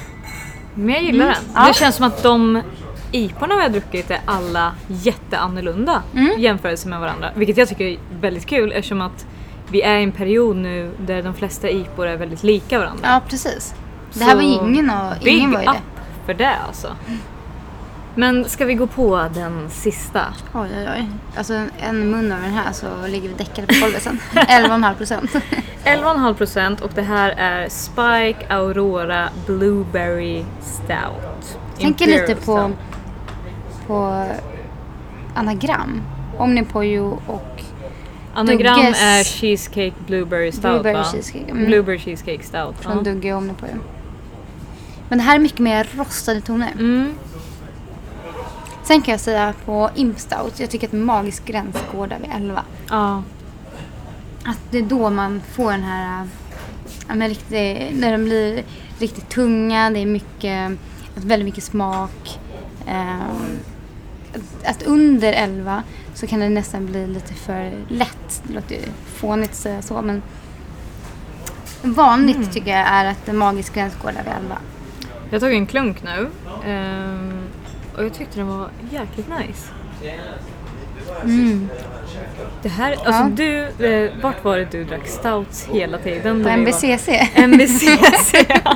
Speaker 1: Men jag gillar den.
Speaker 2: Mm. Ja.
Speaker 1: Det känns som att de IPorna vi har druckit är alla jätteannorlunda
Speaker 2: Mm.
Speaker 1: i jämförelse med varandra. Vilket jag tycker är väldigt kul eftersom att vi är i en period nu där de flesta IPor är väldigt lika varandra.
Speaker 2: Ja, precis. Det här var
Speaker 1: Så
Speaker 2: ingen av...
Speaker 1: Big
Speaker 2: Ingen var ju
Speaker 1: up
Speaker 2: det.
Speaker 1: för det alltså. Men ska vi gå på den sista?
Speaker 2: Oj, oj, oj. Alltså en- en mun av den här så ligger vi däckade på golvet sen. 11,5 procent.
Speaker 1: 11,5% och det här är Spike Aurora Blueberry Stout.
Speaker 2: Tänker
Speaker 1: Imperial
Speaker 2: lite på,
Speaker 1: Stout.
Speaker 2: på anagram. Omnipojo och
Speaker 1: Anagram
Speaker 2: Dugges-
Speaker 1: är Cheesecake Blueberry Stout
Speaker 2: Blueberry
Speaker 1: va?
Speaker 2: Cheesecake, mm.
Speaker 1: Blueberry Cheesecake Stout.
Speaker 2: från
Speaker 1: ja.
Speaker 2: Dugge och Omnipojo. Men det här är mycket mer rostade toner.
Speaker 1: Mm.
Speaker 2: Sen kan jag säga på Imp Stout, jag tycker att magisk gräns går där vid 11.
Speaker 1: Ja.
Speaker 2: Att det är då man får den här, ja, men riktigt, när de blir riktigt tunga, det är mycket, väldigt mycket smak. Ehm, att, att under 11 så kan det nästan bli lite för lätt. Det låter ju fånigt att säga så men vanligt tycker jag är att en magisk gräns går där vid 11.
Speaker 1: Jag tog en klunk nu ehm, och jag tyckte den var jäkligt nice.
Speaker 2: Mm.
Speaker 1: Det här, alltså du, eh, vart var det du drack stouts hela tiden?
Speaker 2: På
Speaker 1: när vi var-
Speaker 2: MBCC.
Speaker 1: MBCC. ja.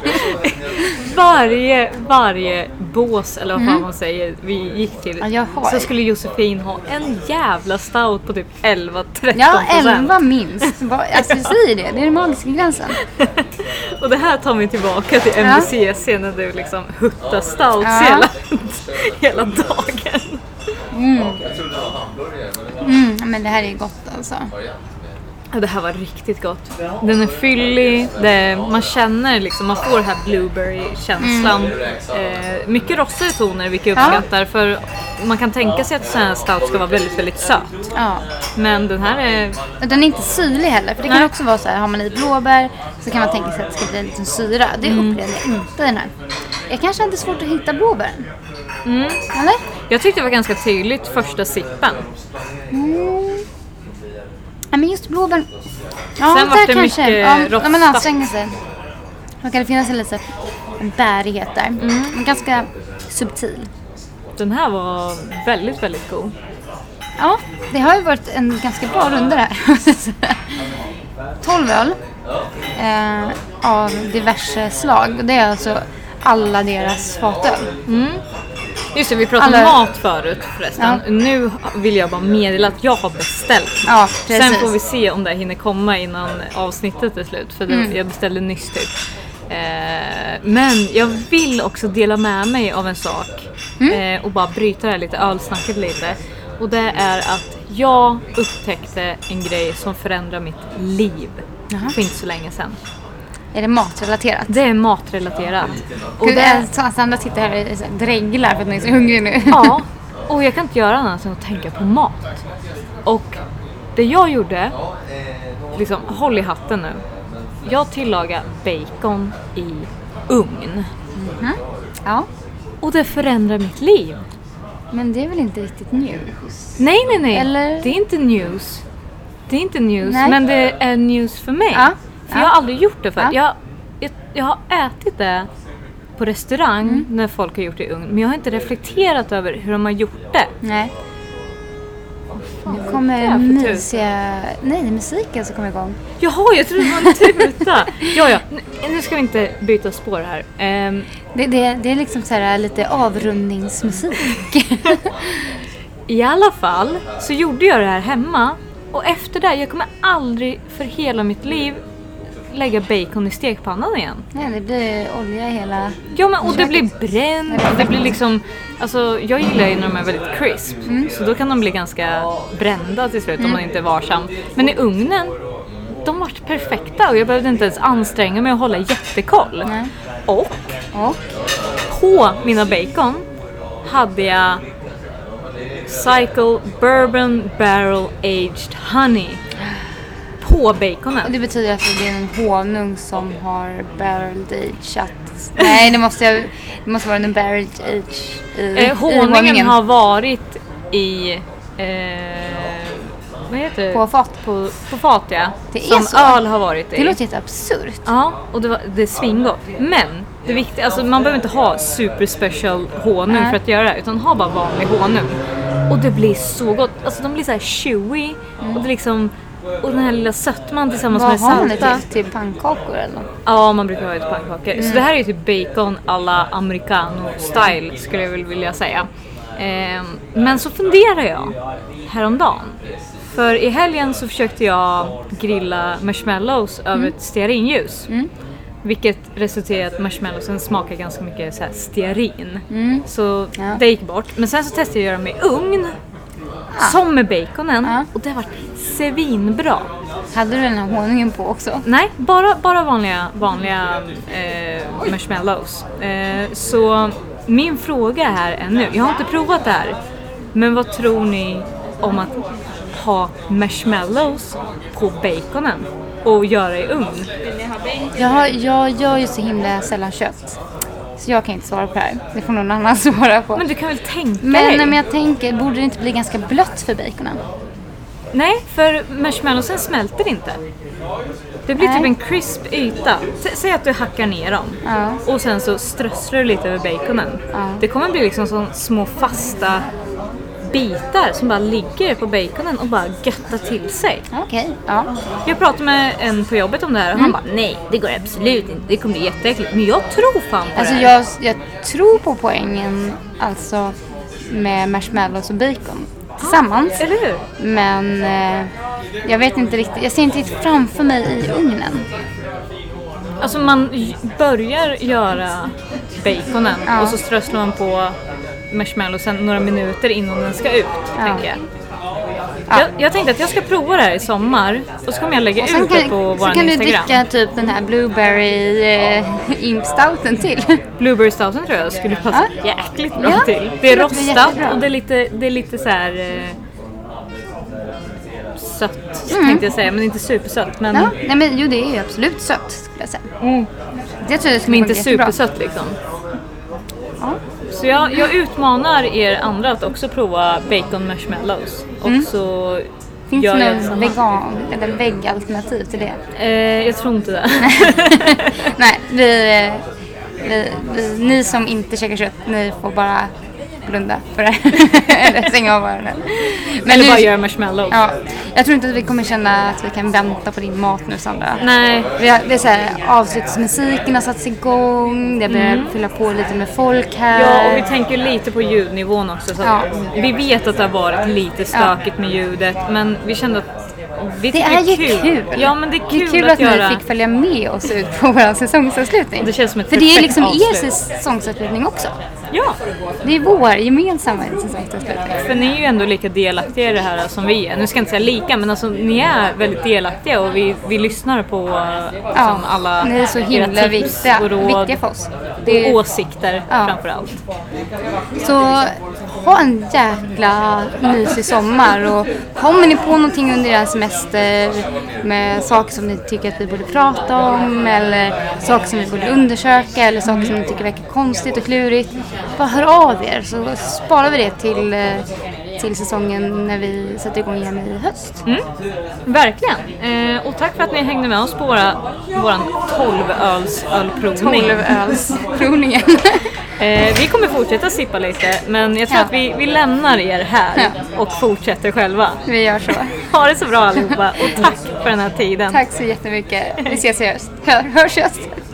Speaker 1: varje, varje bås eller vad fan man säger vi gick till
Speaker 2: Mm. Ja, jag har.
Speaker 1: så skulle Josefin ha en jävla stout på typ 11-13
Speaker 2: Ja, 11 minst. Vad- Alltså vi säger det, det är den magiska gränsen.
Speaker 1: Och det här tar mig tillbaka till MBCC när du liksom huttar stouts
Speaker 2: Ja.
Speaker 1: hela, hela dagen.
Speaker 2: Mm, men det här är gott alltså.
Speaker 1: Ja, det här var riktigt gott. Den är fyllig, det, man känner liksom, man får den här blueberry-känslan. Eh, mycket rostigare toner vilket jag
Speaker 2: Ja.
Speaker 1: uppskattar för man kan tänka sig att sån här stout ska vara väldigt, väldigt söt.
Speaker 2: Ja.
Speaker 1: Men den här är...
Speaker 2: Och Den är inte syrlig heller. För det kan
Speaker 1: Nej.
Speaker 2: också vara så här, har man i blåbär så kan man tänka sig att det ska bli en liten syra. Det
Speaker 1: Mm.
Speaker 2: upplevde jag inte den här. Jag kanske hade svårt att hitta blåbären.
Speaker 1: Mm.
Speaker 2: Eller?
Speaker 1: Jag tyckte det var ganska tydligt första sippen.
Speaker 2: Nej Mm. men just blåbär. Ja,
Speaker 1: Sen vart
Speaker 2: där
Speaker 1: det
Speaker 2: kanske.
Speaker 1: mycket
Speaker 2: ja, men- ja, men
Speaker 1: rostat.
Speaker 2: anstränger sig. Då kan det finnas en liten en bärighet där.
Speaker 1: Mm.
Speaker 2: Men ganska subtil.
Speaker 1: Den här var väldigt, väldigt god.
Speaker 2: Ja, det har ju varit en ganska bra runda det här. 12 öl eh, av diverse slag. Det är alltså alla deras fatöl.
Speaker 1: Just det, vi pratade
Speaker 2: Alla-
Speaker 1: om mat förut förresten. Nu vill jag bara meddela att jag har beställt.
Speaker 2: Ja,
Speaker 1: Sen
Speaker 2: precis.
Speaker 1: får vi se om det här hinner komma innan avsnittet är slut. För det,
Speaker 2: Mm.
Speaker 1: jag beställde nyss typ. Eh, men jag vill också dela med mig av en sak.
Speaker 2: Mm.
Speaker 1: Eh, och bara bryta det här lite ölsnacket lite. Och det är att jag upptäckte en grej som förändrar mitt liv. För inte så länge sedan.
Speaker 2: Är det matrelaterat?
Speaker 1: Det är matrelaterat. Och
Speaker 2: Gud,
Speaker 1: det är
Speaker 2: eh, Sandra sitter här och så här dreglar för att hon är så hungrig nu.
Speaker 1: Ja, och jag kan inte göra annat än att tänka på mat. Och det jag gjorde, liksom håll i hatten nu. Jag tillagade bacon i ugn.
Speaker 2: Ja,
Speaker 1: Och det förändrar mitt liv.
Speaker 2: men det är väl inte riktigt nu?
Speaker 1: Nej, nej, nej.
Speaker 2: Eller-
Speaker 1: Det är inte news. Det är inte news,
Speaker 2: Nej.
Speaker 1: men det är news för mig.
Speaker 2: Ja,
Speaker 1: För
Speaker 2: ja.
Speaker 1: jag har aldrig gjort det förut.
Speaker 2: Ja.
Speaker 1: Jag, jag, jag har ätit det på restaurang
Speaker 2: Mm.
Speaker 1: när folk har gjort det i ugn, men jag har inte reflekterat över hur de har gjort det.
Speaker 2: Nej. Nu kommer
Speaker 1: jävla tur.
Speaker 2: mysiga... Nej, musiken som kommer igång.
Speaker 1: Jaha, jag trodde det var en tuta! ja, ja. Nu- Nu ska vi inte byta spår här. Ehm,
Speaker 2: Det, det, det är liksom så här lite avrundningsmusik.
Speaker 1: I alla fall så gjorde jag det här hemma och efter det, jag kommer aldrig för hela mitt liv lägga bacon i stekpannan igen.
Speaker 2: Nej, det blir olja i hela...
Speaker 1: Ja, men och det blir bränt och det blir liksom... Alltså, jag gillar ju när de är väldigt crisp, så då kan de bli ganska brända till slut om man inte är varsam. Men i ugnen, de vart perfekta och jag behövde inte ens anstränga mig att hålla jättekoll.
Speaker 2: Nej.
Speaker 1: Och
Speaker 2: Och?
Speaker 1: På mina bacon hade jag Cycle Bourbon Barrel Aged Honey. På
Speaker 2: Och
Speaker 1: baconen.
Speaker 2: det betyder att det är en honung som har barrel ageat. Nej, det måste, jag, det måste vara en barrel age i,
Speaker 1: Eh,
Speaker 2: i honungen.
Speaker 1: honungen har varit i... Eh, vad heter det?
Speaker 2: På fat.
Speaker 1: På, på fat ja.
Speaker 2: Det är
Speaker 1: Som
Speaker 2: så.
Speaker 1: öl har varit i.
Speaker 2: Det låter jätteabsurt.
Speaker 1: Ja, och det, var, det är svingott. Men det viktiga, alltså man behöver inte ha super special honung
Speaker 2: Nej.
Speaker 1: för att göra det, utan ha bara vanlig honung. Och det blir så gott. Alltså de blir så här chewy och det liksom och den här lilla sötman tillsammans
Speaker 2: Vad
Speaker 1: med
Speaker 2: har man det
Speaker 1: salta.
Speaker 2: till? Till pannkakor eller något?
Speaker 1: Ja, man brukar ha det till pannkakor. Så det här är ju typ bacon alla americano style skulle jag väl vilja säga. Ehm, men så funderar jag häromdagen. För i helgen så försökte jag grilla marshmallows över ett stearinljus. Vilket resulterade i att marshmallowsen smakar ganska mycket så här stearin. Så
Speaker 2: Ja.
Speaker 1: det gick bort. Men sen så testade jag att göra dem i ugn. Som med baconen.
Speaker 2: Ja.
Speaker 1: Och det vart svinbra.
Speaker 2: Hade du den här honungen på också?
Speaker 1: Nej, bara, bara vanliga, vanliga eh, marshmallows. Eh, så min fråga här är nu, jag har inte provat det här, men vad tror ni om att ha marshmallows på baconen och göra i ugn?
Speaker 2: Jag, har, jag gör ju så himla sällan kött. Så jag kan inte svara på det här. Det får någon annan svara på.
Speaker 1: Men du kan väl tänka dig?
Speaker 2: Men, men jag tänker, borde det inte bli ganska blött för baconen?
Speaker 1: Nej, för marshmallowsen smälter inte. Det blir
Speaker 2: Nej.
Speaker 1: typ en crisp yta. S- säg att du hackar ner dem
Speaker 2: Ja.
Speaker 1: och sen så strösslar du lite över baconen. Det kommer bli liksom som små fasta bitar som bara ligger på baconen och bara göttar till sig.
Speaker 2: Okej. Ja.
Speaker 1: Jag pratade med en på jobbet om det här och
Speaker 2: Mm.
Speaker 1: han bara nej, det går absolut inte. Det kommer bli jätteäckligt. Men jag tror fan på
Speaker 2: Alltså
Speaker 1: det. här.
Speaker 2: jag, jag tror på poängen alltså med marshmallows och bacon tillsammans.
Speaker 1: Eller hur?
Speaker 2: Men eh, jag vet inte riktigt. Jag ser inte riktigt framför mig i ugnen.
Speaker 1: Alltså man j- börjar göra baconen
Speaker 2: Ja.
Speaker 1: och så strösslar man på marshmallowsen några minuter innan den ska ut.
Speaker 2: Ja.
Speaker 1: Tänker jag.
Speaker 2: Ja.
Speaker 1: Jag, jag tänkte att jag ska prova det här i sommar och så kommer jag lägga
Speaker 2: Och
Speaker 1: ut
Speaker 2: sen
Speaker 1: det på
Speaker 2: kan, så
Speaker 1: vår
Speaker 2: kan du
Speaker 1: Instagram.
Speaker 2: dricka typ den här blueberry eh, imp stouten till.
Speaker 1: Mm. Blueberry stouten tror jag skulle passa jäkligt bra
Speaker 2: Ja,
Speaker 1: till.
Speaker 2: det
Speaker 1: Det är
Speaker 2: låter jättebra.
Speaker 1: rostat och det är lite, det är lite så här eh, sött tänkte jag säga, men inte supersött. Men,
Speaker 2: Mm. Ja, nej men jo det är ju absolut sött skulle jag säga.
Speaker 1: mm,
Speaker 2: Det tror jag
Speaker 1: men
Speaker 2: skulle
Speaker 1: inte
Speaker 2: funka jättebra.
Speaker 1: supersött liksom.
Speaker 2: Ja.
Speaker 1: Så jag, jag utmanar er andra att också prova bacon marshmallows. Och så
Speaker 2: Mm. Finns
Speaker 1: gör jag
Speaker 2: det någon
Speaker 1: tillsammans.
Speaker 2: vegan eller väggalternativ till det?
Speaker 1: Eh, jag tror inte det.
Speaker 2: Nej, vi, eh, vi, vi, ni som inte käkar kött, ni får bara blunda för det här. Eller stänga av öronen. Men
Speaker 1: Eller
Speaker 2: nu-
Speaker 1: bara göra marshmallows.
Speaker 2: ja, Jag tror inte att vi kommer känna att vi kan vänta på din mat nu Sandra.
Speaker 1: Nej,
Speaker 2: Vi har, det är så här, avslutsmusiken har satts igång, det börjar fylla på lite med folk här.
Speaker 1: Mm. Ja, och vi tänker lite på ljudnivån också. Så att
Speaker 2: Ja.
Speaker 1: Vi vet att det har varit lite stökigt med ljudet, men vi kände att vi
Speaker 2: det
Speaker 1: tycker
Speaker 2: är ju kul.
Speaker 1: Ja, men det är kul,
Speaker 2: det är kul
Speaker 1: att,
Speaker 2: att,
Speaker 1: göra.
Speaker 2: ni fick följa med oss ut på vår säsongsavslutning.
Speaker 1: Det känns som ett
Speaker 2: För det är
Speaker 1: perfekt
Speaker 2: liksom er
Speaker 1: avslut.
Speaker 2: säsongsavslutning också.
Speaker 1: Ja,
Speaker 2: Det är vår gemensamma säsongsavslutning.
Speaker 1: för ni är ju ändå lika delaktiga i det här som vi är. Nu ska jag inte säga lika, men alltså ni är väldigt delaktiga och vi, vi lyssnar på liksom,
Speaker 2: Ja,
Speaker 1: alla
Speaker 2: ni är så himla
Speaker 1: era tips
Speaker 2: viktiga,
Speaker 1: och råd
Speaker 2: viktiga för oss.
Speaker 1: och
Speaker 2: Det är,
Speaker 1: åsikter
Speaker 2: Ja.
Speaker 1: framför allt.
Speaker 2: så ha en jäkla mysig sommar och kommer ni på någonting under er semester med saker som ni tycker att vi borde prata om eller saker som vi borde undersöka eller saker som ni tycker verkar konstigt och klurigt. Bara hör av er så sparar vi det till, eh, till säsongen när vi sätter igång igen i höst.
Speaker 1: Mm, verkligen. Eh, och tack för att ni hängde med oss på våra, våran 12-ölsprovning.
Speaker 2: 12-ölsprovningen.
Speaker 1: Eh, vi kommer fortsätta sippa lite, men jag tror
Speaker 2: Ja.
Speaker 1: att vi, vi lämnar er här
Speaker 2: Ja.
Speaker 1: och fortsätter själva.
Speaker 2: vi gör så.
Speaker 1: Ha det så bra allihopa och tack för den här tiden.
Speaker 2: Tack så jättemycket. Vi ses i höst. Hör, hörs i höst.